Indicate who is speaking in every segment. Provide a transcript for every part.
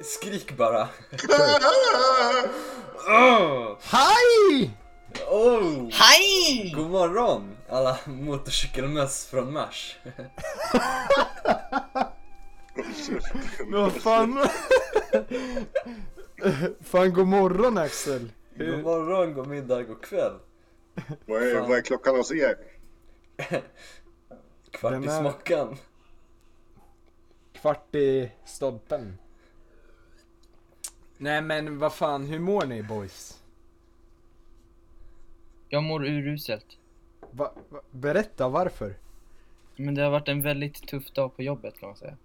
Speaker 1: Skrik bara.
Speaker 2: Hej!
Speaker 1: Oh!
Speaker 3: Hej!
Speaker 1: God morgon alla motorcykelmöss från Mars.
Speaker 2: Men vad fan? fan god morgon Axel.
Speaker 1: God morgon, god middag, god kväll.
Speaker 4: Vad är,
Speaker 1: Fan.
Speaker 4: vad är klockan hos er?
Speaker 1: Kvart
Speaker 2: Den
Speaker 1: i
Speaker 2: är-
Speaker 1: smockan.
Speaker 2: Kvart i stolpen. Nej men vad fan, hur mår ni boys?
Speaker 3: Jag mår uruselt.
Speaker 2: Va, va, berätta varför.
Speaker 3: Men det har varit en väldigt tuff dag på jobbet kan man säga.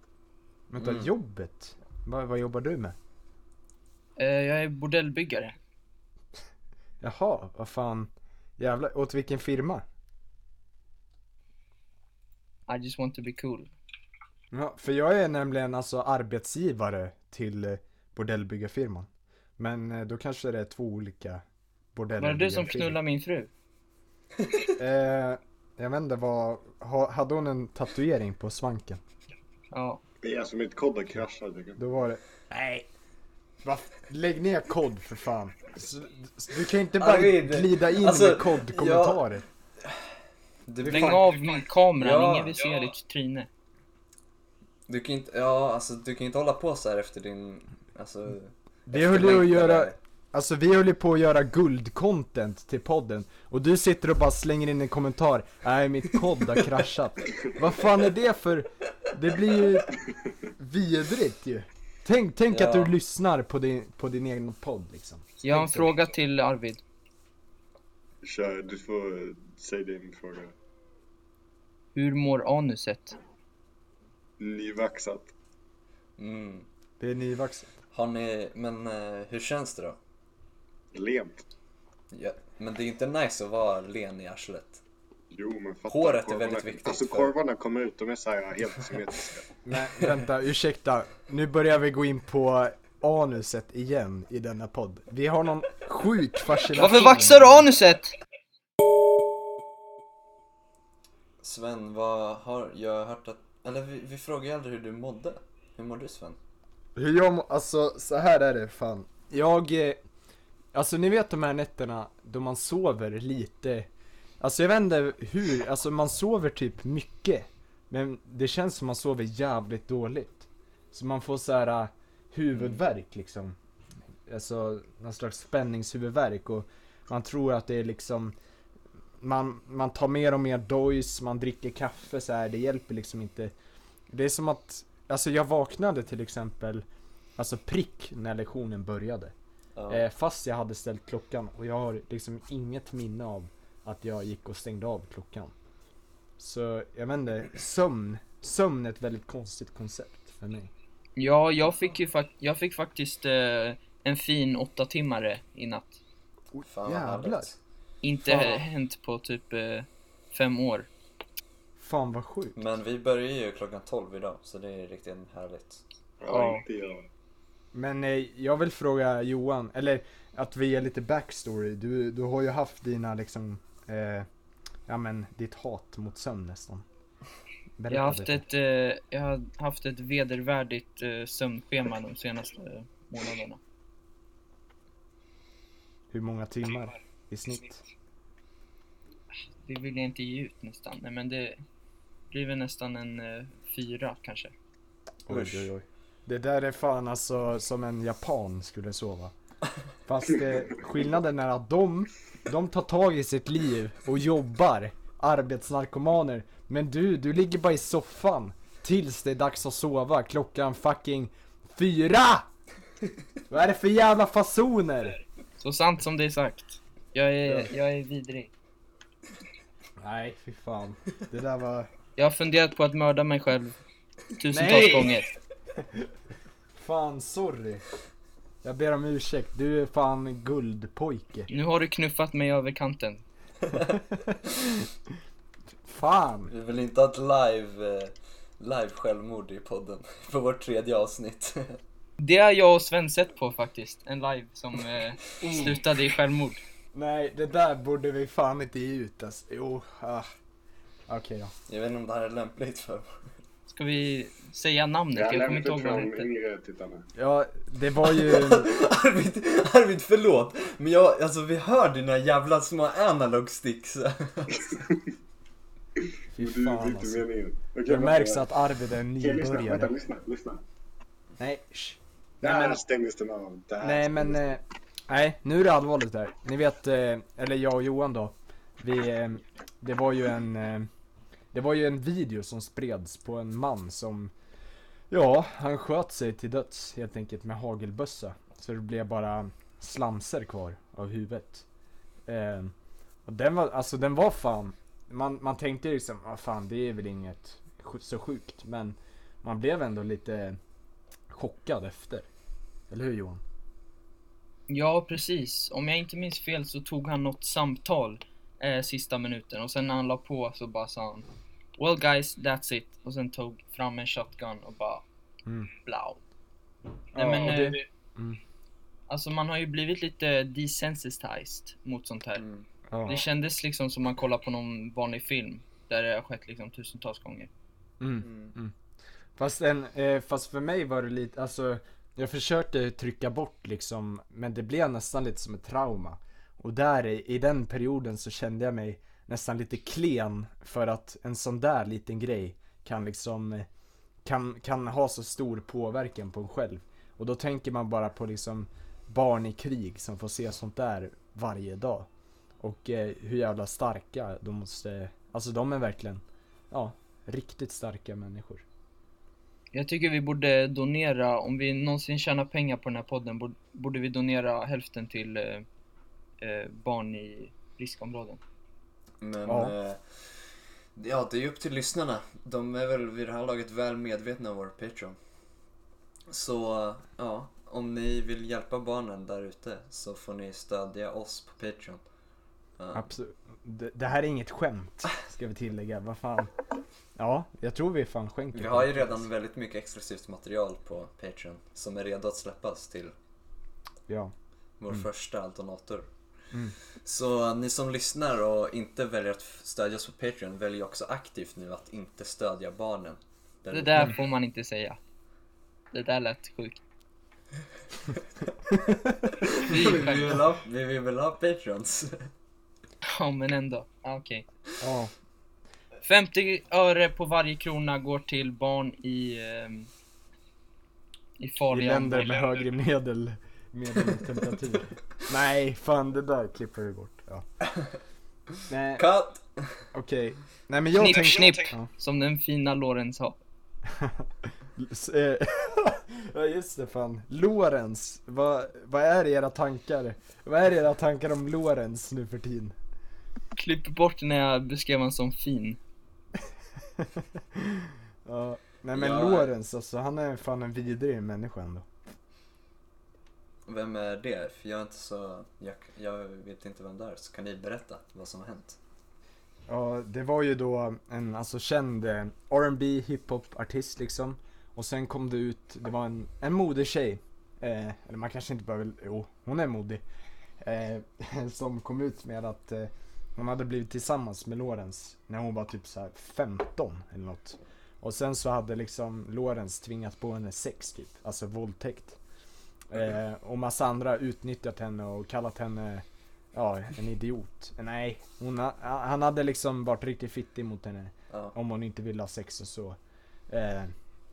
Speaker 2: Vänta,
Speaker 1: Mm.
Speaker 2: jobbet? Va, vad jobbar du med?
Speaker 3: Eh, Jag är bordellbyggare.
Speaker 2: Jaha, vad fan. Jävlar, åt vilken firma?
Speaker 3: I just want to be cool.
Speaker 2: Ja, för jag är nämligen alltså arbetsgivare till eh, bordellbyggarfirman. Men eh, då kanske det är två olika
Speaker 3: Var det
Speaker 2: bordellbyggarfirmor.
Speaker 3: du som knullade min fru?
Speaker 2: Eh, jag vet inte vad, ha, hade hon en tatuering på svanken?
Speaker 3: Ja.
Speaker 4: Det är som mitt kodde kraschar. tycker jag.
Speaker 2: Då var det... Nej! Va? Lägg ner kod för fan. S- s- Du kan inte bara
Speaker 1: Arvid,
Speaker 2: glida in
Speaker 1: alltså,
Speaker 2: med kod-kommentarer.
Speaker 1: Du,
Speaker 3: Stäng av min kamera,
Speaker 1: Ja,
Speaker 3: ingen vill se ditt tryne.
Speaker 1: du kan inte, ja alltså du kan inte hålla på så här efter din, alltså.
Speaker 2: Vi höll ju att göra, alltså vi höll ju på att göra guldcontent till podden och du sitter och bara slänger in en kommentar Nej mitt kod har kraschat. Vad fan är det för, det blir ju vidrigt ju. Tänk, tänk att
Speaker 1: Ja.
Speaker 2: du lyssnar på din, på din egen podd liksom.
Speaker 3: Jag har en fråga till Arvid.
Speaker 4: Kör, du får eh, säga din fråga.
Speaker 3: Hur mår anuset?
Speaker 4: Nyvaxat.
Speaker 1: Mm.
Speaker 2: Det är nyvaxat.
Speaker 1: Har ni, men eh, hur känns det då?
Speaker 4: Lent.
Speaker 1: Ja, men det är inte nice att vara len i arslet.
Speaker 4: Jo men fatta.
Speaker 1: Håret är
Speaker 4: korvarna-
Speaker 1: väldigt viktigt
Speaker 4: Alltså
Speaker 1: för-
Speaker 4: korvarna kommer ut, de är så här helt symmetriska.
Speaker 2: Nej vänta, ursäkta. Nu börjar vi gå in på anuset igen i denna podd. Vi har någon sjuk fascination.
Speaker 3: Varför vaxar du anuset?
Speaker 1: Sven, vad har jag hört att... Eller vi, vi frågade ju aldrig hur du mådde. Hur mår du Sven?
Speaker 2: Hur jag må- alltså så här är det fan. Jag, eh, alltså ni vet de här nätterna då man sover lite. Alltså jag vet inte hur, alltså man sover typ mycket. Men det känns som man sover jävligt dåligt. Så man får så här eh, huvudvärk liksom. Alltså någon slags spänningshuvudvärk och man tror att det är liksom man, man tar mer och mer dojs, man dricker kaffe så här, det hjälper liksom inte. Det är som att, alltså jag vaknade till exempel, alltså prick när lektionen började.
Speaker 1: Ja.
Speaker 2: Eh, fast jag hade ställt klockan och jag har liksom inget minne av att jag gick och stängde av klockan. Så jag vet inte, sömn, sömn är ett väldigt konstigt koncept för mig.
Speaker 3: Ja, jag fick ju fak- jag fick faktiskt eh, en fin åtta timmare i natt.
Speaker 1: Fan, vad
Speaker 2: Jävlar,
Speaker 1: härligt.
Speaker 3: Inte
Speaker 2: Fan.
Speaker 3: hänt på typ eh, fem år.
Speaker 2: fan vad sjukt.
Speaker 1: Men vi börjar ju klockan 12 idag, så det är riktigt härligt.
Speaker 3: Ja.
Speaker 4: Ja, inte jag.
Speaker 2: Men eh, jag vill fråga Johan, eller att vi ger lite backstory. Du, du har ju haft dina liksom, eh, ja men ditt hat mot sömn nästan. Berätta
Speaker 3: Jag har haft
Speaker 2: lite.
Speaker 3: ett, eh, jag har haft ett vedervärdigt eh, sömnschema de senaste eh, månaderna.
Speaker 2: Hur många timmar i snitt?
Speaker 3: Det vill jag inte ge ut nästan. Nej, men det blir väl nästan en eh, fyra kanske.
Speaker 1: Usch.
Speaker 2: oj. Det där är fan alltså som en japan skulle sova. Fast eh, skillnaden är att de, de tar tag i sitt liv och jobbar. Arbetsnarkomaner. Men du, du ligger bara i soffan. Tills det är dags att sova. Klockan fucking fyra! Vad är det för jävla fasoner?
Speaker 3: Så sant som det är sagt. Jag är, jag är vidrig.
Speaker 2: Nej, fy fan. Det där var...
Speaker 3: Jag har funderat på att mörda mig själv tusentals
Speaker 2: Nej!
Speaker 3: gånger.
Speaker 2: Fan, sorry. Jag ber om ursäkt. Du är fan guldpojke.
Speaker 3: Nu har du knuffat mig över kanten.
Speaker 2: Fan.
Speaker 1: Vi vill inte ha ett live, eh, live självmord i podden på vårt tredje avsnitt.
Speaker 3: Det har jag och Sven sett på faktiskt. En live som eh, slutade i självmord.
Speaker 2: Nej, det där borde vi fan inte ge ut alltså. Jo, ah. Okej då.
Speaker 1: Jag vet inte om det här är lämpligt för
Speaker 3: Ska vi säga namnet?
Speaker 4: Jag
Speaker 3: Jag kommer inte
Speaker 4: lämnar
Speaker 3: ihåg vad han
Speaker 4: fram
Speaker 3: hette.
Speaker 4: yngre tittarna.
Speaker 2: Ja, det var ju...
Speaker 1: Arvid, Arvid förlåt, men jag, alltså vi hör dina jävla små analog sticks.
Speaker 2: Fy
Speaker 4: Du
Speaker 2: fan
Speaker 4: fick
Speaker 2: alltså.
Speaker 4: du meningen. Okej,
Speaker 2: Det
Speaker 4: vänta,
Speaker 2: märks
Speaker 4: vänta.
Speaker 2: att Arvid är en
Speaker 4: Okej, lyssna, vänta, alltså,
Speaker 2: nybörjare.
Speaker 4: lyssna, lyssna.
Speaker 2: Nej, shh. Nej,
Speaker 4: Där
Speaker 2: men-
Speaker 4: stängdes den av. Där
Speaker 2: Nej men, eh, nej nu är det allvarligt där. Ni vet, eh, eller jag och Johan då. Vi, eh, det var ju en, eh, det var ju en video som spreds på en man som, ja, han sköt sig till döds helt enkelt med hagelbössa. Så det blev bara slamser kvar av huvudet. Eh, och den var, alltså den var fan, man, man tänkte ju liksom, ah, fan det är väl inget sj- så sjukt. Men man blev ändå lite chockad efter. Eller hur Johan?
Speaker 3: Ja, precis. Om jag inte minns fel så tog han något samtal eh, sista minuten och sen när han la på så bara sa han Well guys, that's it. Och sen tog fram en shotgun och bara
Speaker 2: Mm.
Speaker 3: blow. Nej
Speaker 2: Ja,
Speaker 3: men,
Speaker 2: och det-
Speaker 3: eh,
Speaker 2: mm.
Speaker 3: alltså man har ju blivit lite desensitized mot sånt här.
Speaker 1: Mm.
Speaker 2: Ja.
Speaker 3: Det kändes liksom som man kollar på någon vanlig film där det har skett liksom tusentals gånger.
Speaker 2: Mm.
Speaker 1: Mm.
Speaker 2: Fast, en, eh, fast för mig var det lite, alltså jag försökte trycka bort liksom, men det blev nästan lite som ett trauma. Och där i, i den perioden så kände jag mig nästan lite klen för att en sån där liten grej kan liksom, eh, kan, kan ha så stor påverkan på en själv. Och då tänker man bara på liksom barn i krig som får se sånt där varje dag. Och eh, hur jävla starka de måste, alltså de är verkligen, ja, riktigt starka människor.
Speaker 3: Jag tycker vi borde donera, om vi någonsin tjänar pengar på den här podden, borde- borde vi donera hälften till eh, eh, barn i riskområden.
Speaker 1: Men
Speaker 2: Ja.
Speaker 1: eh, ja, det är ju upp till lyssnarna. De är väl vid det här laget väl medvetna om vår Patreon. Så eh, ja, om ni vill hjälpa barnen där ute så får ni stödja oss på Patreon. Eh,
Speaker 2: Absolut. Det, det här är inget skämt, ska vi tillägga. Vad fan. Ja, jag tror vi fan skänker.
Speaker 1: vi har ju
Speaker 2: det.
Speaker 1: redan väldigt mycket exklusivt material på Patreon som är redo att släppas till
Speaker 2: Ja.
Speaker 1: vår första donator.
Speaker 2: Mm.
Speaker 1: Så eh, ni som lyssnar och inte väljer att f- stödja oss på Patreon väljer också aktivt nu att inte stödja barnen.
Speaker 3: Det
Speaker 1: ute.
Speaker 2: Mm.
Speaker 3: där får man inte säga. Det där lät sjukt.
Speaker 1: vi, vill ha, vi vill ha Patreons.
Speaker 3: Ja men ändå. Ja, Okej.
Speaker 2: Ja.
Speaker 3: 50 öre på varje krona går till barn i... ehm, I
Speaker 2: I
Speaker 3: farliga
Speaker 2: länder med
Speaker 3: områden.
Speaker 2: högre medel, medeltemperatur. Nej, fan det där klipper vi bort. Ja. Nej,
Speaker 1: Cut!
Speaker 2: okej. Nej men jag
Speaker 3: Knipp,
Speaker 2: tänkte...
Speaker 3: knipp.
Speaker 2: Ja.
Speaker 3: Som den fina Loren sa.
Speaker 2: S- eh, ja just det fan. Lorentz, vad, vad är era tankar? Vad är era tankar om Lorentz nu för tiden?
Speaker 3: Klipp bort när jag beskrev honom som fin.
Speaker 2: ja, nej men
Speaker 1: Ja.
Speaker 2: Lorentz alltså, han är fan en vidrig människa ändå.
Speaker 1: Vem är det? För jag är inte så... Jag, jag vet inte vem det är, så kan ni berätta vad som har hänt?
Speaker 2: Ja, det var ju då en alltså, känd eh, R&B hiphop-artist liksom. Och sen kom det ut, det var en, en modig tjej. Eh, eller man kanske inte behöver, jo, hon är modig. Eh, som kom ut med att eh, hon hade blivit tillsammans med Lorenz när hon var typ så här 15 eller något. Och sen så hade liksom Lorenz tvingat på henne sex typ, alltså våldtäkt. Eh, och massa andra utnyttjat henne och kallat henne Ja, en idiot. Nej, hon ha, han hade liksom varit riktigt fittig mot henne.
Speaker 1: Ja.
Speaker 2: Om hon inte ville ha sex och så. Eh,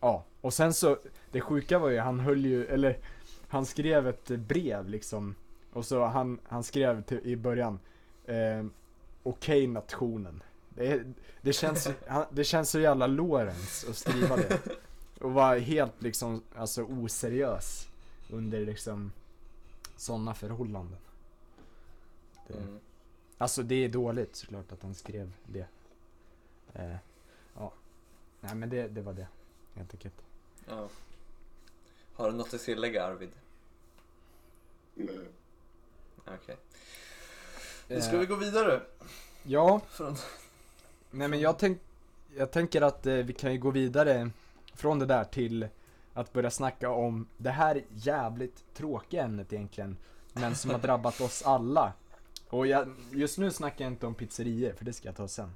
Speaker 2: ja, och sen så, det sjuka var ju, han höll ju, eller han skrev ett brev liksom. Och så han, han skrev till, i början, eh, okej nationen. Det, det, känns, han, det känns så jävla Lorenz att skriva det. Och vara helt liksom, alltså oseriös under liksom sådana förhållanden. Det,
Speaker 1: Mm.
Speaker 2: Alltså det är dåligt såklart att han skrev det. Eh, ja. Nej men det, det var det. Helt enkelt.
Speaker 1: Ja. Har du något att tillägga Arvid?
Speaker 4: Nej.
Speaker 1: Okej. Nu ska vi gå vidare.
Speaker 2: Ja,
Speaker 1: Från...
Speaker 2: nej men jag, tänk, jag tänker att eh, vi kan ju gå vidare från det där till att börja snacka om det här jävligt tråkiga ämnet egentligen. Men som har drabbat oss alla. Och jag, just nu snackar jag inte om pizzerier för det ska jag ta sen.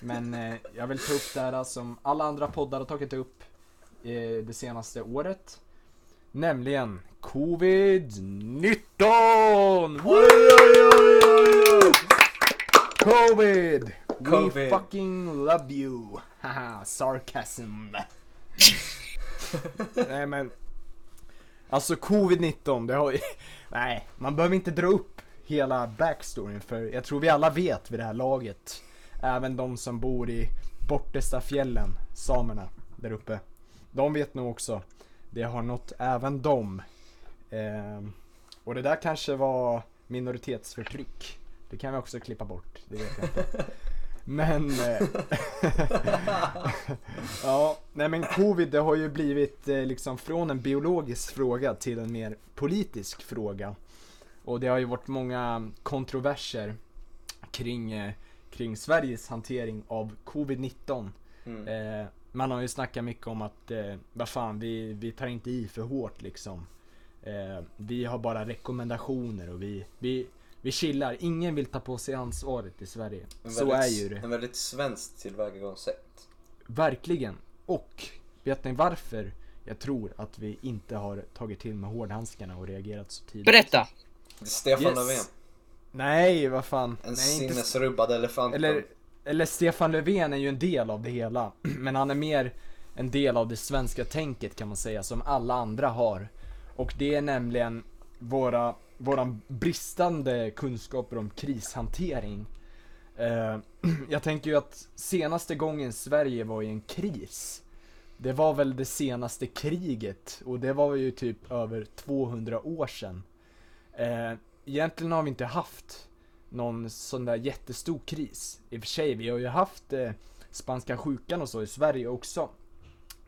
Speaker 2: Men eh, jag vill ta upp det här som alla andra poddar har tagit upp eh, det senaste året. Nämligen Covid-19! Covid! We
Speaker 1: Covid.
Speaker 2: fucking love you! Haha, sarcasm! Nej men. Alltså covid-19, det har ju... Nej, man behöver inte dra upp hela backstoryn för jag tror vi alla vet vid det här laget. Även de som bor i bortesta fjällen, samerna där uppe. De vet nog också. Det har nått även dem. Ehm, och det där kanske var minoritetsförtryck. Det kan vi också klippa bort, det vet jag inte. Men... eh, ja, nej men covid det har ju blivit eh, liksom från en biologisk fråga till en mer politisk fråga. Och det har ju varit många kontroverser kring, eh, kring Sveriges hantering av covid-19.
Speaker 1: Mm.
Speaker 2: Eh, man har ju snackat mycket om att, eh, vad fan, vi, vi tar inte i för hårt liksom. Eh, vi har bara rekommendationer och vi, vi, vi chillar. Ingen vill ta på sig ansvaret i Sverige.
Speaker 1: En
Speaker 2: Så är
Speaker 1: väldigt-
Speaker 2: ju det.
Speaker 1: En väldigt svenskt tillvägagångssätt.
Speaker 2: Verkligen. Och, vet ni varför jag tror att vi inte har tagit till med hårdhandskarna och reagerat så tidigt?
Speaker 3: Berätta!
Speaker 1: Det är Stefan
Speaker 2: Yes.
Speaker 1: Löfven.
Speaker 2: Nej, vad fan.
Speaker 1: En
Speaker 2: Nej, inte
Speaker 1: sinnesrubbad elefant.
Speaker 2: Eller, eller Stefan Löfven är ju en del av det hela, men han är mer en del av det svenska tänket kan man säga, som alla andra har. Och det är nämligen våra, våra bristande kunskaper om krishantering. Eh, jag tänker ju att senaste gången Sverige var i en kris, det var väl det senaste kriget och det var ju typ över 200 år sedan. Eh, egentligen har vi inte haft någon sån där jättestor kris. I och för sig, vi har ju haft eh, spanska sjukan och så i Sverige också.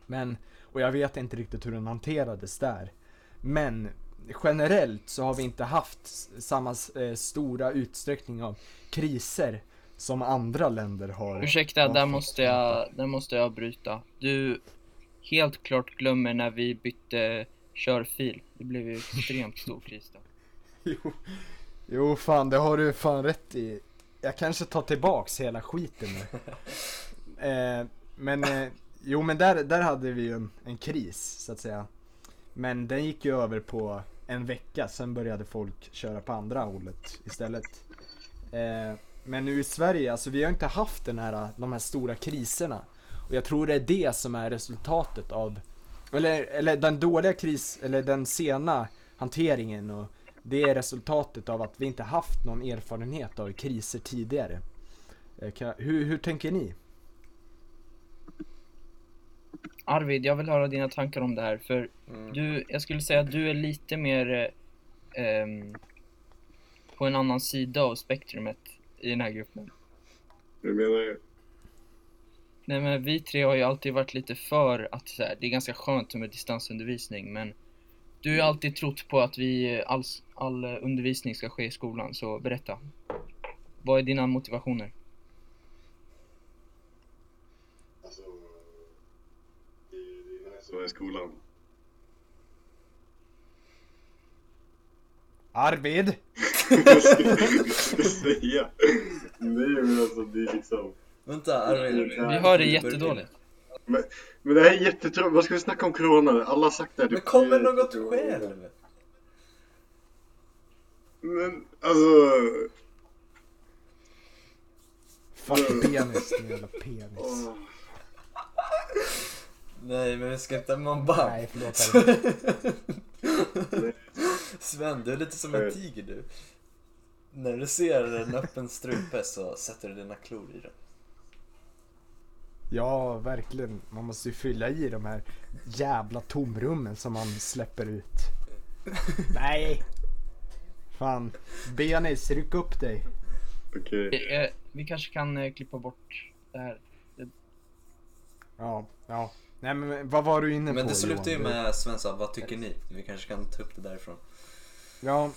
Speaker 2: Men, och jag vet inte riktigt hur den hanterades där. Men generellt så har vi inte haft s- samma eh, stora utsträckning av kriser som andra länder har.
Speaker 3: Ursäkta,
Speaker 2: har
Speaker 3: där
Speaker 2: fått
Speaker 3: måste,
Speaker 2: kämpa.
Speaker 3: jag, där måste jag bryta. Du helt klart glömmer när vi bytte körfil. Det blev ju extremt stor kris då.
Speaker 2: Jo, jo fan det har du fan rätt i. Jag kanske tar tillbaks hela skiten nu. eh, men eh, jo men där, där hade vi ju en, en kris så att säga. Men den gick ju över på en vecka, sen började folk köra på andra hållet istället. Eh, men nu i Sverige, alltså vi har inte haft den här, de här stora kriserna. Och jag tror det är det som är resultatet av, eller, eller den dåliga kris, eller den sena hanteringen och det är resultatet av att vi inte haft någon erfarenhet av kriser tidigare. Eh, Kan, hur, hur tänker ni?
Speaker 3: Arvid, jag vill höra dina tankar om det här. För
Speaker 1: Mm.
Speaker 3: du, jag skulle säga att du är lite mer eh, ehm, på en annan sida av spektrumet i den här gruppen.
Speaker 4: Hur menar du?
Speaker 3: Nej men vi tre har ju alltid varit lite för att så här, det är ganska skönt med distansundervisning men du har ju alltid trott på att vi eh, all, all eh, undervisning ska ske i skolan så berätta. Vad är dina motivationer?
Speaker 4: Alltså, det, det är nice att vara i skolan.
Speaker 2: Arvid!
Speaker 4: Vad ska jag säga? Nej men alltså det är liksom.
Speaker 1: Vänta, Arvid.
Speaker 4: Vi
Speaker 3: Vi hör dig jättedåligt.
Speaker 4: Men det här är jättetråkigt. Vad ska vi snacka om corona? Alla har sagt det. här. typ.
Speaker 1: Men kom med något själv!
Speaker 4: Men alltså.
Speaker 2: Fuck penis, din jävla penis.
Speaker 4: åh.
Speaker 1: Nej, men vi ska inte ha man bara...
Speaker 2: Nej, förlåt,
Speaker 1: Sven, du är lite som en tiger du. När du ser en öppen strupe så sätter du dina klor i den.
Speaker 2: Ja, verkligen. Man måste ju fylla i de här jävla tomrummen som man släpper ut. Nej! Fan. Benis, ryck upp dig.
Speaker 4: Okej.
Speaker 3: Vi, eh, vi kanske kan eh, klippa bort det här.
Speaker 2: Ja, ja. Nej men vad var du inne på
Speaker 1: Men det
Speaker 2: Johan?
Speaker 1: slutar ju
Speaker 2: Du-
Speaker 1: med Sven sa, vad tycker ni? Vi kanske kan ta upp det därifrån.
Speaker 2: Ja,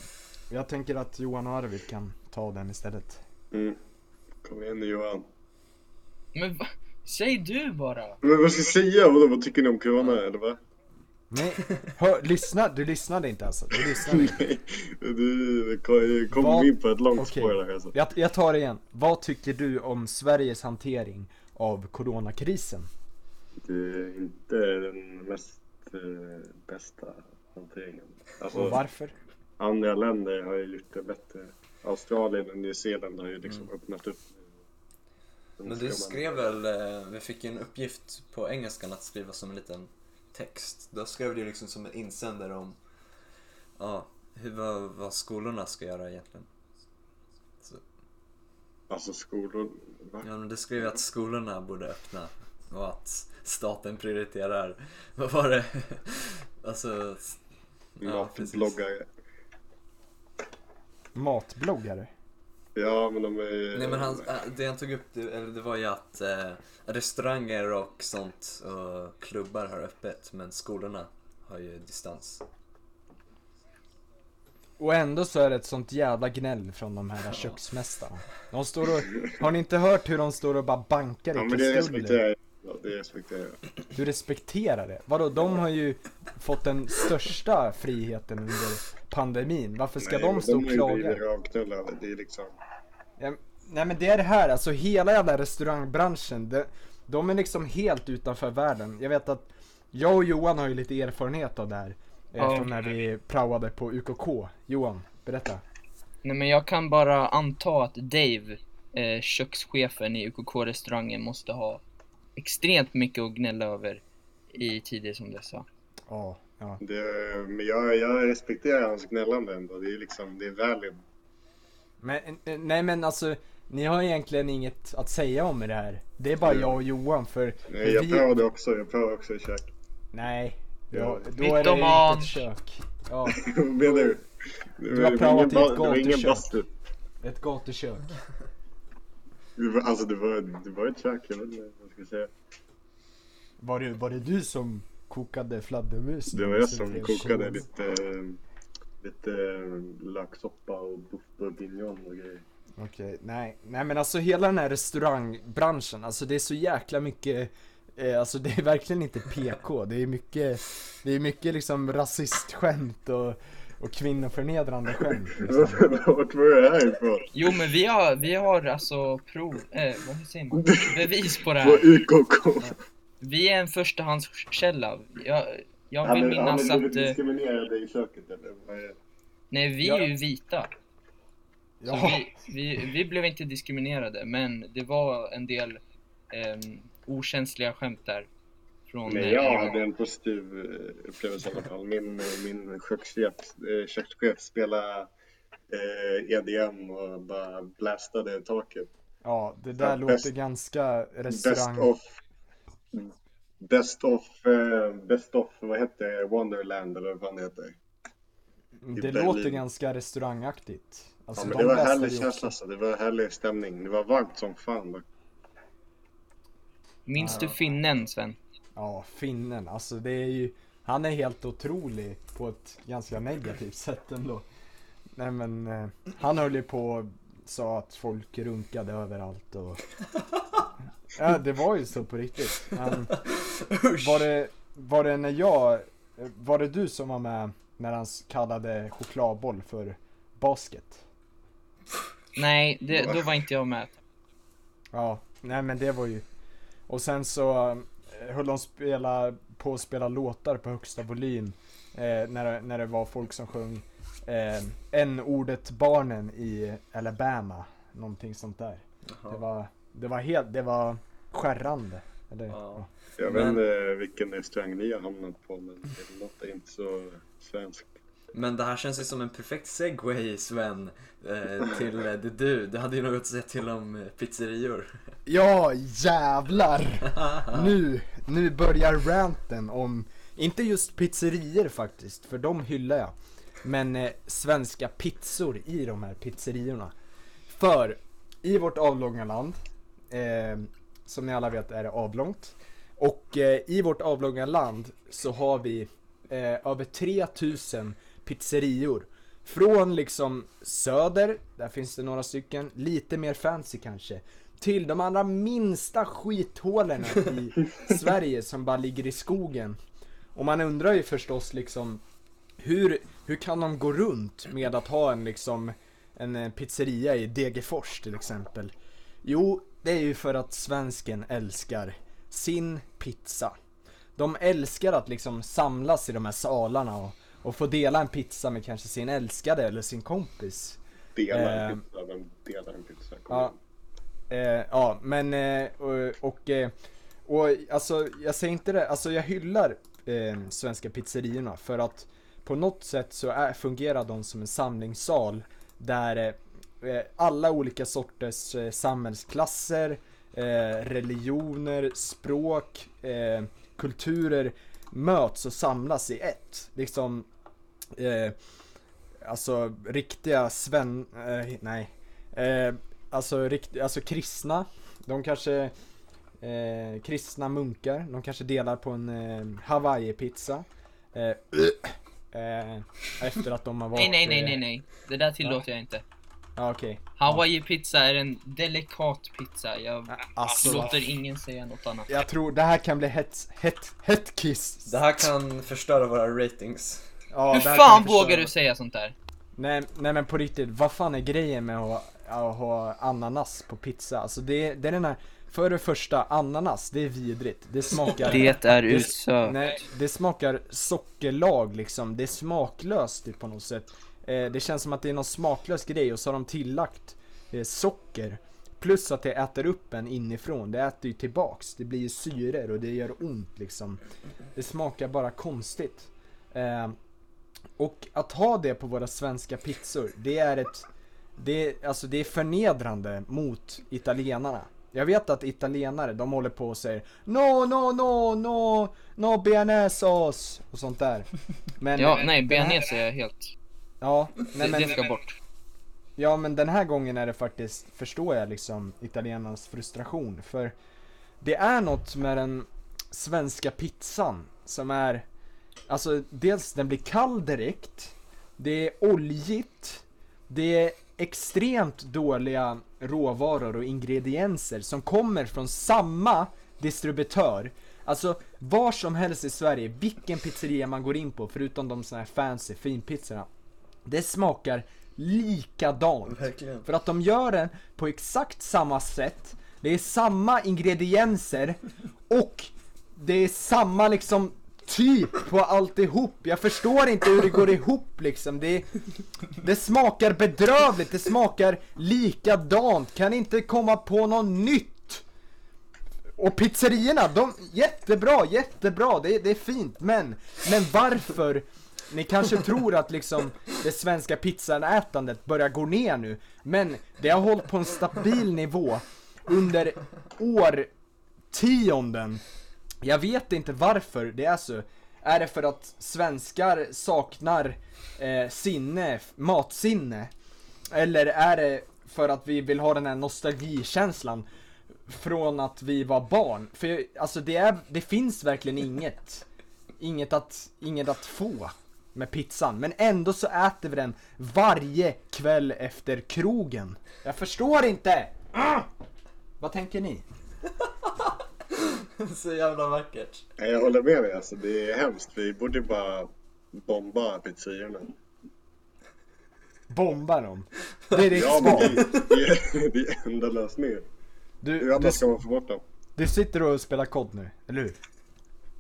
Speaker 2: jag tänker att Johan och Arvid kan ta den istället.
Speaker 4: Mm. Kom igen nu Johan.
Speaker 3: Men va? Säg du bara!
Speaker 4: Men vad ska jag säga? Vadå, vad tycker ni om corona eller vad?
Speaker 2: Nej, hör, lyssna, du lyssnade inte alltså. Du lyssnade inte.
Speaker 4: Nej, du du kom- kom
Speaker 2: Vad-
Speaker 4: in på ett långt
Speaker 2: okej.
Speaker 4: spår där alltså.
Speaker 2: Jag, jag tar det igen. Vad tycker du om Sveriges hantering av coronakrisen?
Speaker 4: Det är inte den mest eh, bästa hanteringen.
Speaker 2: Och
Speaker 4: Alltså,
Speaker 2: varför?
Speaker 4: andra länder har ju gjort det bättre. Australien och Nya Zeeland har ju liksom
Speaker 2: Mm.
Speaker 4: öppnat upp.
Speaker 1: Men du skrev väl, eh, vi fick ju en uppgift på engelskan att skriva som en liten text. Då skrev du liksom som en insändare om ja, hur, vad, vad skolorna ska göra egentligen. Så,
Speaker 4: Alltså skolor... Va?
Speaker 1: ja, men du skrev att skolorna borde öppna och att staten prioriterar, vad var det? Alltså, s- ja,
Speaker 4: Matbloggare.
Speaker 2: Matbloggare?
Speaker 4: Ja men de är ju...
Speaker 1: nej men han, eh, det han tog upp, det, eller det var ju att eh, restauranger och sånt och klubbar har öppet men skolorna har ju distans.
Speaker 2: Och ändå så är det ett sånt jävla gnäll från de här köksmästarna. De står och, har ni inte hört hur de står och bara bankar
Speaker 4: Ja
Speaker 2: i
Speaker 4: men det
Speaker 2: kastruller?
Speaker 4: respekterar jag. Ja, det respekterar jag.
Speaker 2: Du respekterar det? Vadå, de har ju fått den största friheten under pandemin. Varför ska
Speaker 4: Nej, men
Speaker 2: de stå och
Speaker 4: De
Speaker 2: klaga?
Speaker 4: är ju rövknullare. Det är liksom...
Speaker 2: Ja, nej men det är det här, alltså hela jävla restaurangbranschen, de, de är liksom helt utanför världen. Jag vet att jag och Johan har ju lite erfarenhet av det här.
Speaker 3: Ja.
Speaker 2: Eh, från när vi praoade på UKK. Johan, berätta.
Speaker 3: Nej men jag kan bara anta att Dave, eh, kökschefen i UKK-restaurangen, måste ha extremt mycket att gnälla över i tider som dessa.
Speaker 2: Ja, ja.
Speaker 4: Det, men jag, jag respekterar hans gnällande ändå. Det är liksom, det är valid.
Speaker 2: Men, eh, nej men alltså, ni har egentligen inget att säga om det här. Det är bara jag och Johan för... för
Speaker 4: Nej, jag prövade också, jag prövade också i kök.
Speaker 2: Nej. Då, då
Speaker 3: Mitt
Speaker 2: är det
Speaker 3: om
Speaker 2: ju
Speaker 3: an.
Speaker 2: inte ett kök. Ja,
Speaker 4: Vad menar du?
Speaker 2: Du har prövat i ett gatukök.
Speaker 4: gatukök?
Speaker 2: ett gatukök.
Speaker 4: Alltså det var, det var ett kök, jag vet inte vad jag ska säga.
Speaker 2: Var det, var det du som kokade fladdermus? Alltså,
Speaker 4: Det var jag som kokade
Speaker 2: det.
Speaker 4: lite, lite löksoppa och bouffe bourguignon och grejer.
Speaker 2: Okej, nej. nej men alltså hela den här restaurangbranschen, alltså det är så jäkla mycket eh, Alltså det är verkligen inte PK, det är mycket Det är mycket liksom rasistskämt och, och kvinnoförnedrande skämt liksom.
Speaker 4: Vart var det här ifrån?
Speaker 3: Jo men vi har, vi har alltså prov, eh, vad säger man? Bevis på det
Speaker 4: På
Speaker 3: här.
Speaker 4: UKK?
Speaker 3: Vi är en förstahandskälla. Jag, jag
Speaker 4: Han
Speaker 3: vill
Speaker 4: är- han
Speaker 3: minnas
Speaker 4: är
Speaker 3: att, eh,
Speaker 4: diskriminerade i köket eller? vad är det?
Speaker 3: nej vi är ju vita.
Speaker 4: Alltså,
Speaker 3: Så
Speaker 2: Ja,
Speaker 3: vi, vi, vi blev inte diskriminerade men det var en del ehm, okänsliga skämt där. Från,
Speaker 4: Nej,
Speaker 3: eh,
Speaker 4: jag
Speaker 3: Iran.
Speaker 4: hade en positiv eh, upplevelse i alla fall. Min, eh, min kökschef, eh, kökschef spelade eh, EDM och bara blastade taket.
Speaker 2: ja det där
Speaker 4: Ja, bäst-
Speaker 2: låter ganska
Speaker 4: Best
Speaker 2: restaurang...
Speaker 4: of, best of, eh, best of, vad hette det, Wonderland eller vad fan det heter.
Speaker 2: Det
Speaker 4: Berlin.
Speaker 2: låter ganska restaurangaktigt.
Speaker 4: Ja,
Speaker 2: Alltså,
Speaker 4: men
Speaker 2: de
Speaker 4: det var
Speaker 2: läste
Speaker 4: härlig
Speaker 2: ju
Speaker 4: känsla
Speaker 2: också-
Speaker 4: alltså. det var härlig stämning. Det var varmt som fan. dock.
Speaker 3: Minns
Speaker 2: Ja.
Speaker 3: du finnen Sven?
Speaker 2: Ja, finnen. Alltså det är ju, han är helt otrolig på ett ganska negativt sätt ändå. Nej men, eh, han höll ju på och sa att folk runkade överallt och... Ja, det var ju så på riktigt. Han, var, det, var det när jag, var det du som var med när han s- kallade chokladboll för basket?
Speaker 3: Nej, det, då var inte jag med.
Speaker 2: Ja, nej men det var ju... Och sen så eh, höll de spela, på att spela låtar på högsta volym eh, när, det- när det var folk som sjöng eh, n-ordet barnen i Alabama, någonting sånt där.
Speaker 1: Jaha.
Speaker 2: Det var, det var helt, det var skärrande. Eller,
Speaker 1: Ja.
Speaker 2: ja.
Speaker 4: Jag
Speaker 1: Men-
Speaker 4: vet inte vilken restaurang ni har hamnat på men det är något inte så svenskt.
Speaker 1: Men det här känns ju som en perfekt segway Sven eh, till eh, det du. Du hade ju något att säga till om eh, pizzerior.
Speaker 2: Ja, jävlar! Nu, nu börjar ranten om, inte just pizzerier faktiskt, för de hyllar jag. Men eh, svenska pizzor i de här pizzeriorna. För i vårt avlånga land, eh, som ni alla vet är det avlångt. Och eh, i vårt avlånga land så har vi eh, över 3000 pizzerior. Från liksom söder, där finns det några stycken, lite mer fancy kanske. Till de allra minsta skithålen i Sverige som bara ligger i skogen. Och man undrar ju förstås liksom hur, hur kan de gå runt med att ha en liksom en eh, pizzeria i Degerfors till exempel? Jo, det är ju för att svensken älskar sin pizza. De älskar att liksom samlas i de här salarna och, och få dela en pizza med kanske sin älskade eller sin kompis.
Speaker 4: Dela en
Speaker 2: Ehm.
Speaker 4: pizza, vem delar en pizza? Kom
Speaker 2: Ja. Eh, ja, men eh, och, och, eh, och alltså jag säger inte det, alltså jag hyllar eh, svenska pizzerierna för att på något sätt så är, fungerar de som en samlingssal där eh, eh, alla olika sorters eh, samhällsklasser, eh, religioner, språk, eh, kulturer möts och samlas i ett. Liksom, eh, alltså riktiga sven... Eh, nej. Eh, alltså, rikt, alltså kristna, de kanske... Eh, kristna munkar, de kanske delar på en eh, hawaii-pizza. Eh, eh, efter att de har varit...
Speaker 3: Nej, nej, nej,
Speaker 2: eh,
Speaker 3: nej, nej. Det där tillåter jag inte.
Speaker 2: Ja, okej.
Speaker 3: Hawaii pizza är en delikat pizza. Jag
Speaker 2: Alltså, vad
Speaker 3: låter ingen säga något annat.
Speaker 2: Jag tror det här kan bli hett, hett, hett kiss.
Speaker 1: Det här kan förstöra våra ratings.
Speaker 2: Ja,
Speaker 3: Hur
Speaker 2: det här
Speaker 3: fan
Speaker 2: kan förstöra-
Speaker 3: vågar du säga sånt där?
Speaker 2: Nej, nej men på riktigt, vad fan är grejen med att ha, att ha ananas på pizza? Alltså det, är- det är den här, för det första, ananas, det är vidrigt. Det smakar...
Speaker 3: är
Speaker 2: Det- Nej, det smakar sockerlag liksom. Det är smaklöst typ, på något sätt. Eh, det känns som att det är någon smaklös grej och så har de tillagt eh, socker. Plus att det äter upp en inifrån. Det äter ju tillbaks. Det blir ju syror och det gör ont liksom. Det smakar bara konstigt. Eh, och att ha det på våra svenska pizzor, det är ett... Det är, alltså det är förnedrande mot italienarna. Jag vet att italienare, de håller på och säger No, no, no, no, no bearnaisesås och sånt där. Men,
Speaker 3: Ja, nej,
Speaker 2: den här-
Speaker 3: bearnaise är jag helt...
Speaker 2: Ja, nej,
Speaker 3: det,
Speaker 2: men,
Speaker 3: det ska bort.
Speaker 2: ja, men den här gången är det faktiskt, förstår jag liksom italienarnas frustration. För det är något med den svenska pizzan som är, alltså dels den blir kall direkt, det är oljigt, det är extremt dåliga råvaror och ingredienser som kommer från samma distributör. Alltså var som helst i Sverige, vilken pizzeria man går in på förutom de såna här fancy finpizzorna. Det smakar likadant.
Speaker 1: Verkligen.
Speaker 2: För att de gör den på exakt samma sätt, det är samma ingredienser och det är samma liksom typ på alltihop. Jag förstår inte hur det går ihop liksom. Det, det smakar bedrövligt, det smakar likadant. Kan inte komma på något nytt. Och pizzerierna, de, jättebra, jättebra, det, det är fint men, men varför? Ni kanske tror att liksom det svenska pizzanätandet börjar gå ner nu, men det har hållit på en stabil nivå under årtionden. Jag vet inte varför det är så. Är det för att svenskar saknar eh, sinne, f- matsinne? Eller är det för att vi vill ha den här nostalgikänslan från att vi var barn? För jag- alltså det, är, det finns verkligen inget, inget, att, inget att få med pizzan. Men ändå så äter vi den varje kväll efter krogen. Jag förstår inte! Ah! Vad tänker ni?
Speaker 1: Så jävla vackert.
Speaker 4: Nej, Jag håller med dig, alltså, det är hemskt. Vi borde bara bomba pizzeriorna.
Speaker 2: Bomba dem. Det är ditt
Speaker 4: Ja, men
Speaker 2: svar.
Speaker 4: det, det, är- det är enda lösningen. Hur
Speaker 2: Du, du,
Speaker 4: annars ska man få bort dem?
Speaker 2: du sitter och spelar kod nu, eller hur?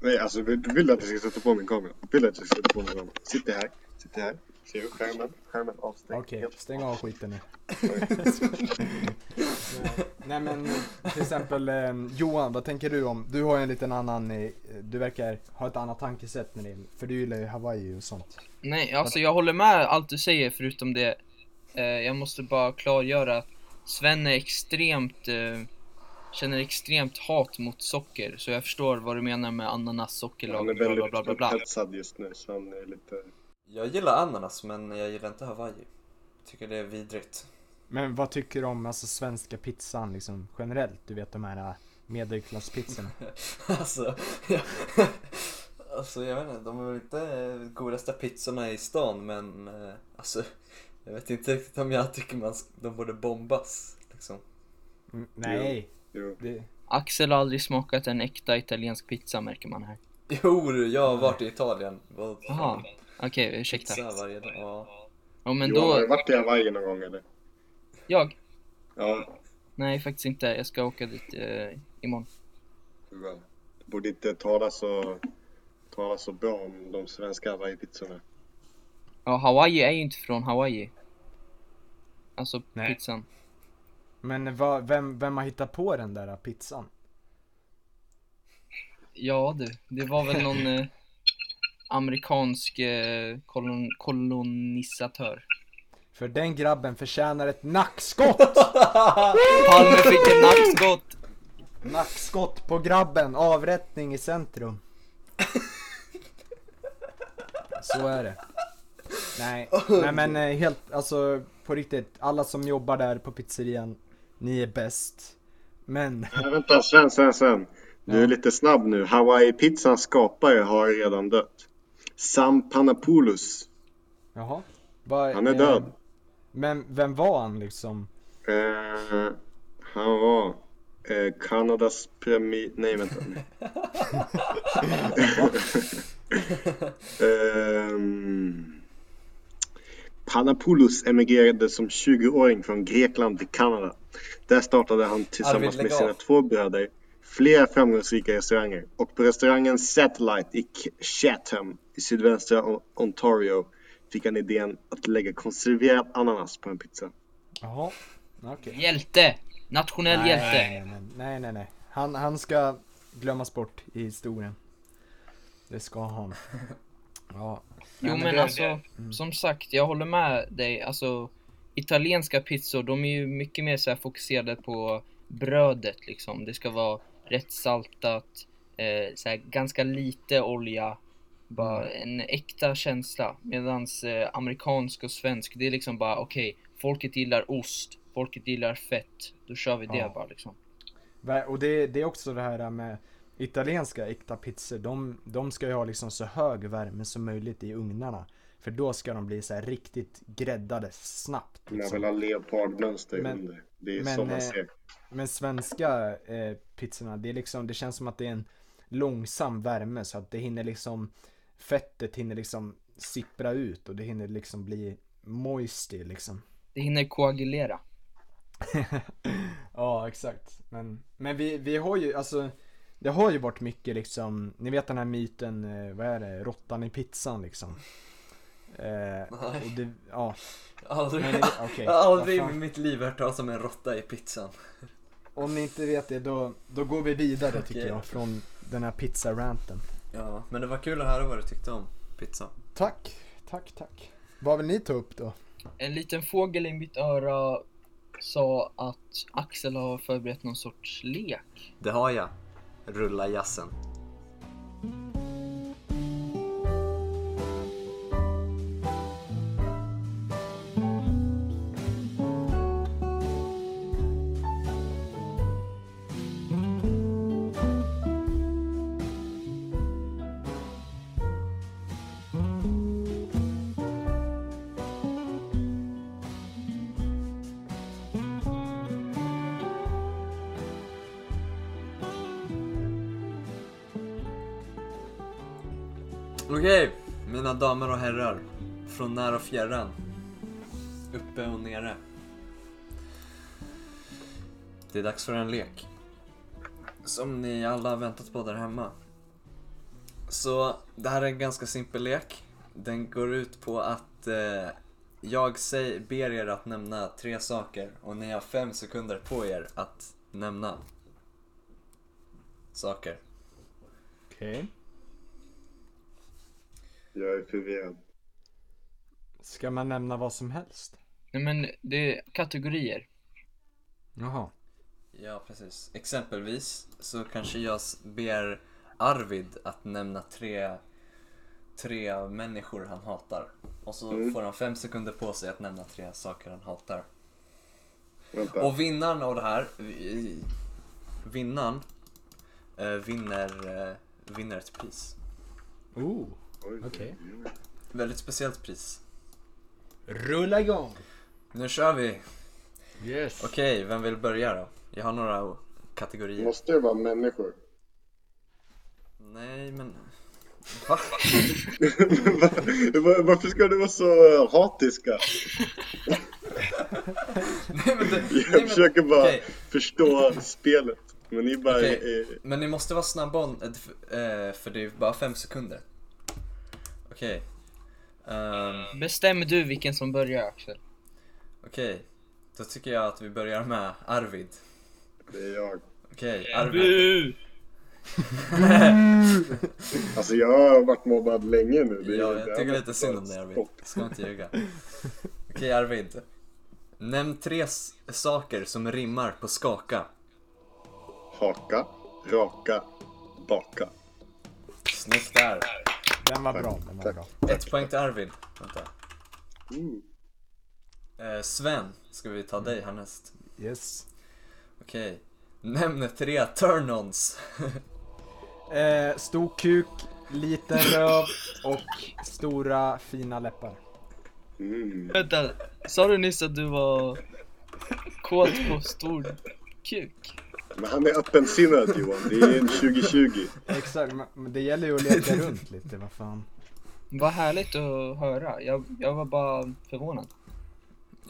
Speaker 4: Nej, alltså vill, vill du att jag ska sätta på min kamera? Vill du att jag ska sätta på min kamera? Sitter här, sitter här. Ser du skärmen? Skärmen avstängd.
Speaker 2: Okej,
Speaker 4: Helt.
Speaker 2: stäng av skiten nu. Nej men till exempel eh, Johan, vad tänker du om? Du har ju en liten annan, eh, du verkar ha ett annat tankesätt när det för du gillar ju Hawaii och sånt.
Speaker 3: Nej, alltså jag håller med allt du säger förutom det. Eh, jag måste bara klargöra att Sven är extremt... Eh, känner extremt hat mot socker, så jag förstår vad du menar med ananas, sockerlag,
Speaker 4: Han är
Speaker 3: bla bla bla bla
Speaker 4: väldigt
Speaker 3: bla.
Speaker 4: upphetsad just nu så han är lite...
Speaker 1: Jag gillar ananas men jag gillar inte Hawaii. Tycker det är vidrigt.
Speaker 2: Men vad tycker du om alltså svenska pizzan liksom generellt? Du vet de här eh, medelklasspizzorna.
Speaker 1: Alltså, jag, alltså jag vet inte, de är väl inte eh, godaste pizzorna i stan men eh, alltså jag vet inte riktigt om jag tycker man, s- de borde bombas liksom.
Speaker 2: Mm, nej,
Speaker 4: Jo.
Speaker 2: det,
Speaker 3: Axel har aldrig smakat en äkta italiensk pizza märker man här.
Speaker 1: Jo du, jag har varit i Italien. Vad fan,
Speaker 3: Jaha, okej ursäkta.
Speaker 1: pizza varje dag. Ja.
Speaker 3: Ja men
Speaker 4: Johan, har
Speaker 3: då,
Speaker 4: du varit i Hawaii någon gång eller?
Speaker 3: jag?
Speaker 4: Ja,
Speaker 3: Nej faktiskt inte, jag ska åka dit eh, imorgon.
Speaker 4: bra. Du eh, borde inte tala så, tala så bra om de svenska Hawaii-pizzorna.
Speaker 3: Ja Hawaii är ju inte från Hawaii. Alltså
Speaker 2: Nej.
Speaker 3: pizzan.
Speaker 2: Men vad- vem, vem har hittat på den där pizzan?
Speaker 3: Ja du, det var väl någon eh, amerikansk eh, kolon, kolonisatör.
Speaker 2: För den grabben förtjänar ett nackskott!
Speaker 3: Palme fick ett nackskott!
Speaker 2: nackskott på grabben, avrättning i centrum. Så är det. Nej, nej men eh, helt, alltså på riktigt, alla som jobbar där på pizzerian, ni är bäst. Men,
Speaker 4: Nej, vänta, Sven, Sven, Sven. Du är lite snabb nu. Hawaii-pizzans skapare har redan dött. Sam Panapoulos.
Speaker 2: jaha? Vad-
Speaker 4: Han är
Speaker 2: eh,
Speaker 4: död.
Speaker 2: Men vem var han liksom?
Speaker 4: Eh, han var eh, Kanadas premi... Nej, vänta. Nej. Ehm, Panapoulos emigrerade som 20-åring från Grekland till Kanada. Där startade han tillsammans
Speaker 1: lägg
Speaker 4: med sina
Speaker 1: av.
Speaker 4: två bröder flera framgångsrika restauranger och på restaurangen Satellite i K- Chatham i sydvästra O- Ontario fick han idén att lägga konserverad ananas på en pizza.
Speaker 2: Jaha, okej.
Speaker 3: Hjälte! Nationell hjälte!
Speaker 2: Nej, nej, nej, nej, nej. Han, han ska glömmas bort i historien. Det ska han. Ja.
Speaker 3: Jo
Speaker 2: Nej,
Speaker 3: men
Speaker 2: det- Mm.
Speaker 3: alltså, som sagt, jag håller med dig. Alltså, italienska pizzor, de är ju mycket mer så här fokuserade på brödet liksom. Det ska vara rätt saltat, eh, så här, ganska lite olja. Bara
Speaker 2: Mm.
Speaker 3: en äkta känsla. Medans eh, amerikansk och svensk, det är liksom bara okej, folket gillar ost, folket gillar fett. Då kör vi det
Speaker 2: Ja.
Speaker 3: bara liksom.
Speaker 2: Ver- Och det, det är också det här med italienska äkta pizzor. De, de ska ju ha liksom så hög värme som möjligt i ugnarna. För då ska de bli så här riktigt gräddade snabbt.
Speaker 4: Jag
Speaker 2: liksom.
Speaker 4: vill ha leopardmönster
Speaker 2: Men-
Speaker 4: under. Det är
Speaker 2: men,
Speaker 4: så man
Speaker 2: eh,
Speaker 4: ser.
Speaker 2: Men svenska eh, pizzorna, det, är liksom, det känns som att det är en långsam värme så att det hinner liksom fettet hinner liksom sippra ut och det hinner liksom bli moisty liksom.
Speaker 3: Det hinner koagulera.
Speaker 2: ja, exakt. Men, men vi, vi har ju, alltså det har ju varit mycket liksom, ni vet den här myten, eh, vad är det, råttan i pizzan liksom. Eh, och
Speaker 1: Nej,
Speaker 2: det, ja,
Speaker 1: aldrig,
Speaker 2: men det- okej.
Speaker 1: jag har aldrig i
Speaker 2: Vad fan.
Speaker 1: mitt liv hört talas om en råtta i pizzan.
Speaker 2: Om ni inte vet det då, då går vi vidare tycker
Speaker 1: Okej.
Speaker 2: jag från den här pizzaranten.
Speaker 1: Ja, men det var kul att höra vad du tyckte om pizza.
Speaker 2: Tack, tack, tack. Vad vill ni ta upp då?
Speaker 3: En liten fågel i mitt öra sa att Axel har förberett någon sorts lek.
Speaker 1: Det har jag. Rulla jassen. Okej, mina damer och herrar. Från när och fjärran. Uppe och nere. Det är dags för en lek. Som ni alla har väntat på där hemma. Så det här är en ganska simpel lek. Den går ut på att eh, jag säg, ber er att nämna tre saker och ni har fem sekunder på er att nämna saker.
Speaker 2: Okej.
Speaker 4: Jag är förvirrad.
Speaker 2: Ska man nämna vad som helst?
Speaker 3: Nej men det är kategorier.
Speaker 2: Jaha.
Speaker 1: Ja, precis. Exempelvis så kanske jag s- ber Arvid att nämna tre, tre människor han hatar. Och så
Speaker 4: Mm.
Speaker 1: får han fem sekunder på sig att nämna tre saker han hatar.
Speaker 4: Vänta.
Speaker 1: Och vinnaren av det här, vi- vinnaren, eh, vinner, eh, vinner ett pris.
Speaker 2: Oh.
Speaker 4: Oj.
Speaker 2: okej.
Speaker 1: Väldigt speciellt pris.
Speaker 2: Rulla igång!
Speaker 1: Nu kör vi!
Speaker 2: Yes.
Speaker 1: Okej, vem vill börja då? Jag har några o- kategorier.
Speaker 4: Måste det vara människor?
Speaker 1: Nej men... Va?
Speaker 4: Var- Varför ska du vara så hatiska?
Speaker 1: nej, men det, nej, men...
Speaker 4: Jag försöker bara
Speaker 1: Okej.
Speaker 4: förstå spelet. Men ni bara
Speaker 1: Okej.
Speaker 4: är...
Speaker 1: Men ni måste vara snabba om, eh, f- eh, för det är bara fem sekunder. Okej. Ehm,
Speaker 3: Bestäm du vilken som börjar Axel.
Speaker 1: Okej. Då tycker jag att vi börjar med Arvid.
Speaker 4: Det är jag.
Speaker 1: Okej, Arvid.
Speaker 3: Bu!
Speaker 4: Alltså jag har varit mobbad länge nu. Det är-
Speaker 1: Ja,
Speaker 4: det
Speaker 1: jag
Speaker 4: har
Speaker 1: tycker
Speaker 4: varit
Speaker 1: lite synd
Speaker 4: bara
Speaker 1: om dig Arvid.
Speaker 4: stopp.
Speaker 1: Ska inte ljuga. Okej Arvid. Nämn tre s- saker som rimmar på skaka.
Speaker 4: Haka, raka, baka.
Speaker 1: Snyggt där.
Speaker 2: Den var
Speaker 4: Tack,
Speaker 2: bra, den var
Speaker 4: tack.
Speaker 2: bra.
Speaker 1: Ett poäng till Arvid. Vänta.
Speaker 4: Mm.
Speaker 1: Eh, Sven, ska vi ta dig härnäst?
Speaker 2: Yes.
Speaker 1: Okej. Nämn tre turn-ons.
Speaker 2: Eh, stor kuk, liten röv och stora fina läppar.
Speaker 4: Mm.
Speaker 3: Vänta, sa du nyss att du var kåt på stor kuk?
Speaker 4: Men han är öppensinnad Johan. Det är 2020.
Speaker 2: Exakt, men- men det gäller ju att leka runt lite, vad fan.
Speaker 3: Vad härligt att höra. Jag, jag var bara förvånad.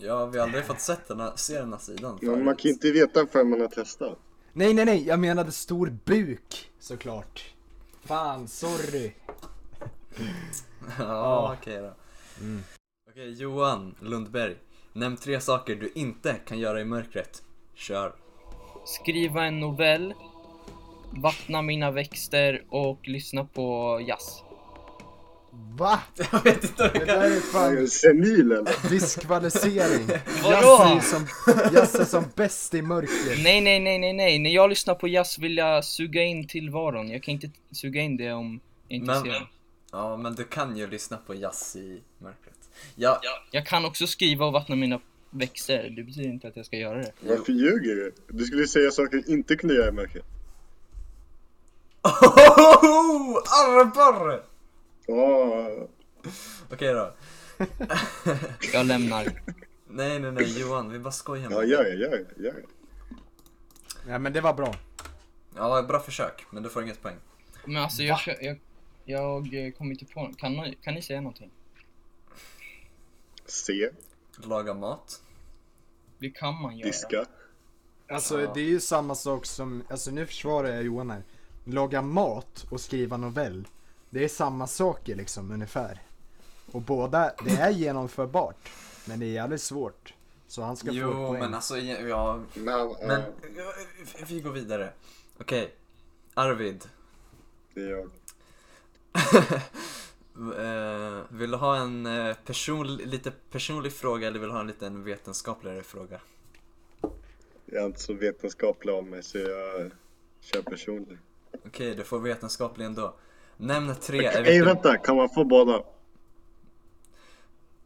Speaker 1: Ja, vi har aldrig fått sett den här, se den här sidan
Speaker 4: Men man
Speaker 1: förut.
Speaker 4: kan ju inte veta förrän man har testat.
Speaker 2: Nej, nej, nej, jag menade stor buk såklart. Fan, sorry.
Speaker 1: Ja, okej då. Okej, Johan Lundberg. Nämn tre saker du inte kan göra i mörkret. Kör.
Speaker 3: Skriva en novell, vattna mina växter och lyssna på jazz.
Speaker 2: Va?
Speaker 1: Jag vet inte om
Speaker 2: Det
Speaker 1: jag
Speaker 2: där
Speaker 1: kan...
Speaker 2: är
Speaker 4: Är
Speaker 2: fan
Speaker 4: du senil eller?
Speaker 2: diskvalificering. Jazz är
Speaker 3: Vadå?
Speaker 2: ju som, jazz är som bäst i mörker.
Speaker 3: Nej, nej, nej, nej, nej. När jag lyssnar på jazz vill jag suga in tillvaron. Jag kan inte t- suga in det om jag inte
Speaker 1: Men-
Speaker 3: ser.
Speaker 1: Ja, men du kan ju lyssna på jazz i mörkret. Ja,
Speaker 3: Jag kan också skriva och vattna mina växter. Det betyder inte att jag ska göra det.
Speaker 4: Varför ljuger du? Du skulle ju säga saker du inte kunde göra i mörkret.
Speaker 1: Ohohoho! Arbar!
Speaker 4: Ja,
Speaker 1: Okej då.
Speaker 3: Jag lämnar.
Speaker 1: Nej, nej, nej Johan, vi bara skojar
Speaker 4: ja,
Speaker 1: med
Speaker 4: gör
Speaker 1: dig.
Speaker 4: det, gör det, gör det.
Speaker 2: Ja, men det var bra.
Speaker 1: Ja, bra försök, men du får inget poäng.
Speaker 3: Men alltså jag, jag, jag, jag eh, kommer inte på kan, ni- kan ni säga någonting?
Speaker 4: Se,
Speaker 1: Laga mat.
Speaker 3: Det kan man göra.
Speaker 4: diska.
Speaker 2: Alltså
Speaker 1: Ja.
Speaker 2: det är ju samma sak som, alltså nu försvarar jag Johan här. Laga mat och skriva novell, det är samma saker liksom ungefär. Och båda, det är genomförbart. Men det är jävligt svårt. Så han ska få ett
Speaker 1: Jo,
Speaker 2: poäng.
Speaker 1: men alltså, ja,
Speaker 4: Men,
Speaker 1: men
Speaker 4: ja,
Speaker 1: vi går vidare. Okej, Arvid.
Speaker 4: det är jag.
Speaker 1: Eh, vill du ha en eh, person, lite personlig fråga eller vill du ha en liten vetenskapligare fråga?
Speaker 4: Jag är inte så vetenskaplig av mig så jag kör personlig.
Speaker 1: Okej, du får vetenskaplig ändå. Nämn tre...
Speaker 4: Okej,
Speaker 1: vertebr-
Speaker 4: vänta, kan man få båda?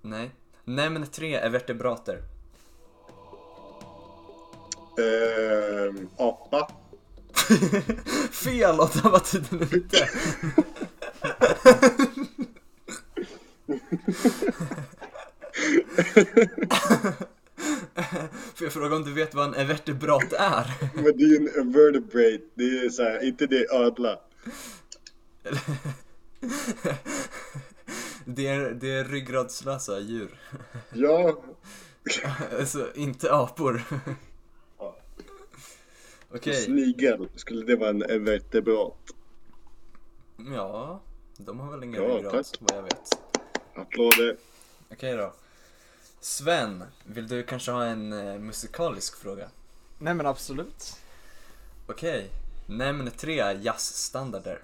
Speaker 1: Nej. Nämn tre är vertebrater.
Speaker 4: Ehm, apa.
Speaker 1: Fel! Och där var tiden ute. Får jag fråga om du vet vad en evertebrat är?
Speaker 4: Men det är ju en vertebrate, det är så här, inte det ödla.
Speaker 1: Det är, det är ryggradslösa djur.
Speaker 4: Ja,
Speaker 1: Alltså, inte apor.
Speaker 4: Ja.
Speaker 1: Okej,
Speaker 4: snigel, skulle det vara en vertebrat?
Speaker 1: ja. De har väl ingen
Speaker 4: Ja,
Speaker 1: ryggrad,
Speaker 4: tack.
Speaker 1: vad jag vet.
Speaker 4: Applåder.
Speaker 1: Okej då. Sven, vill du kanske ha en eh, musikalisk fråga?
Speaker 2: Nej men absolut.
Speaker 1: Okej, nämn tre jazzstandarder.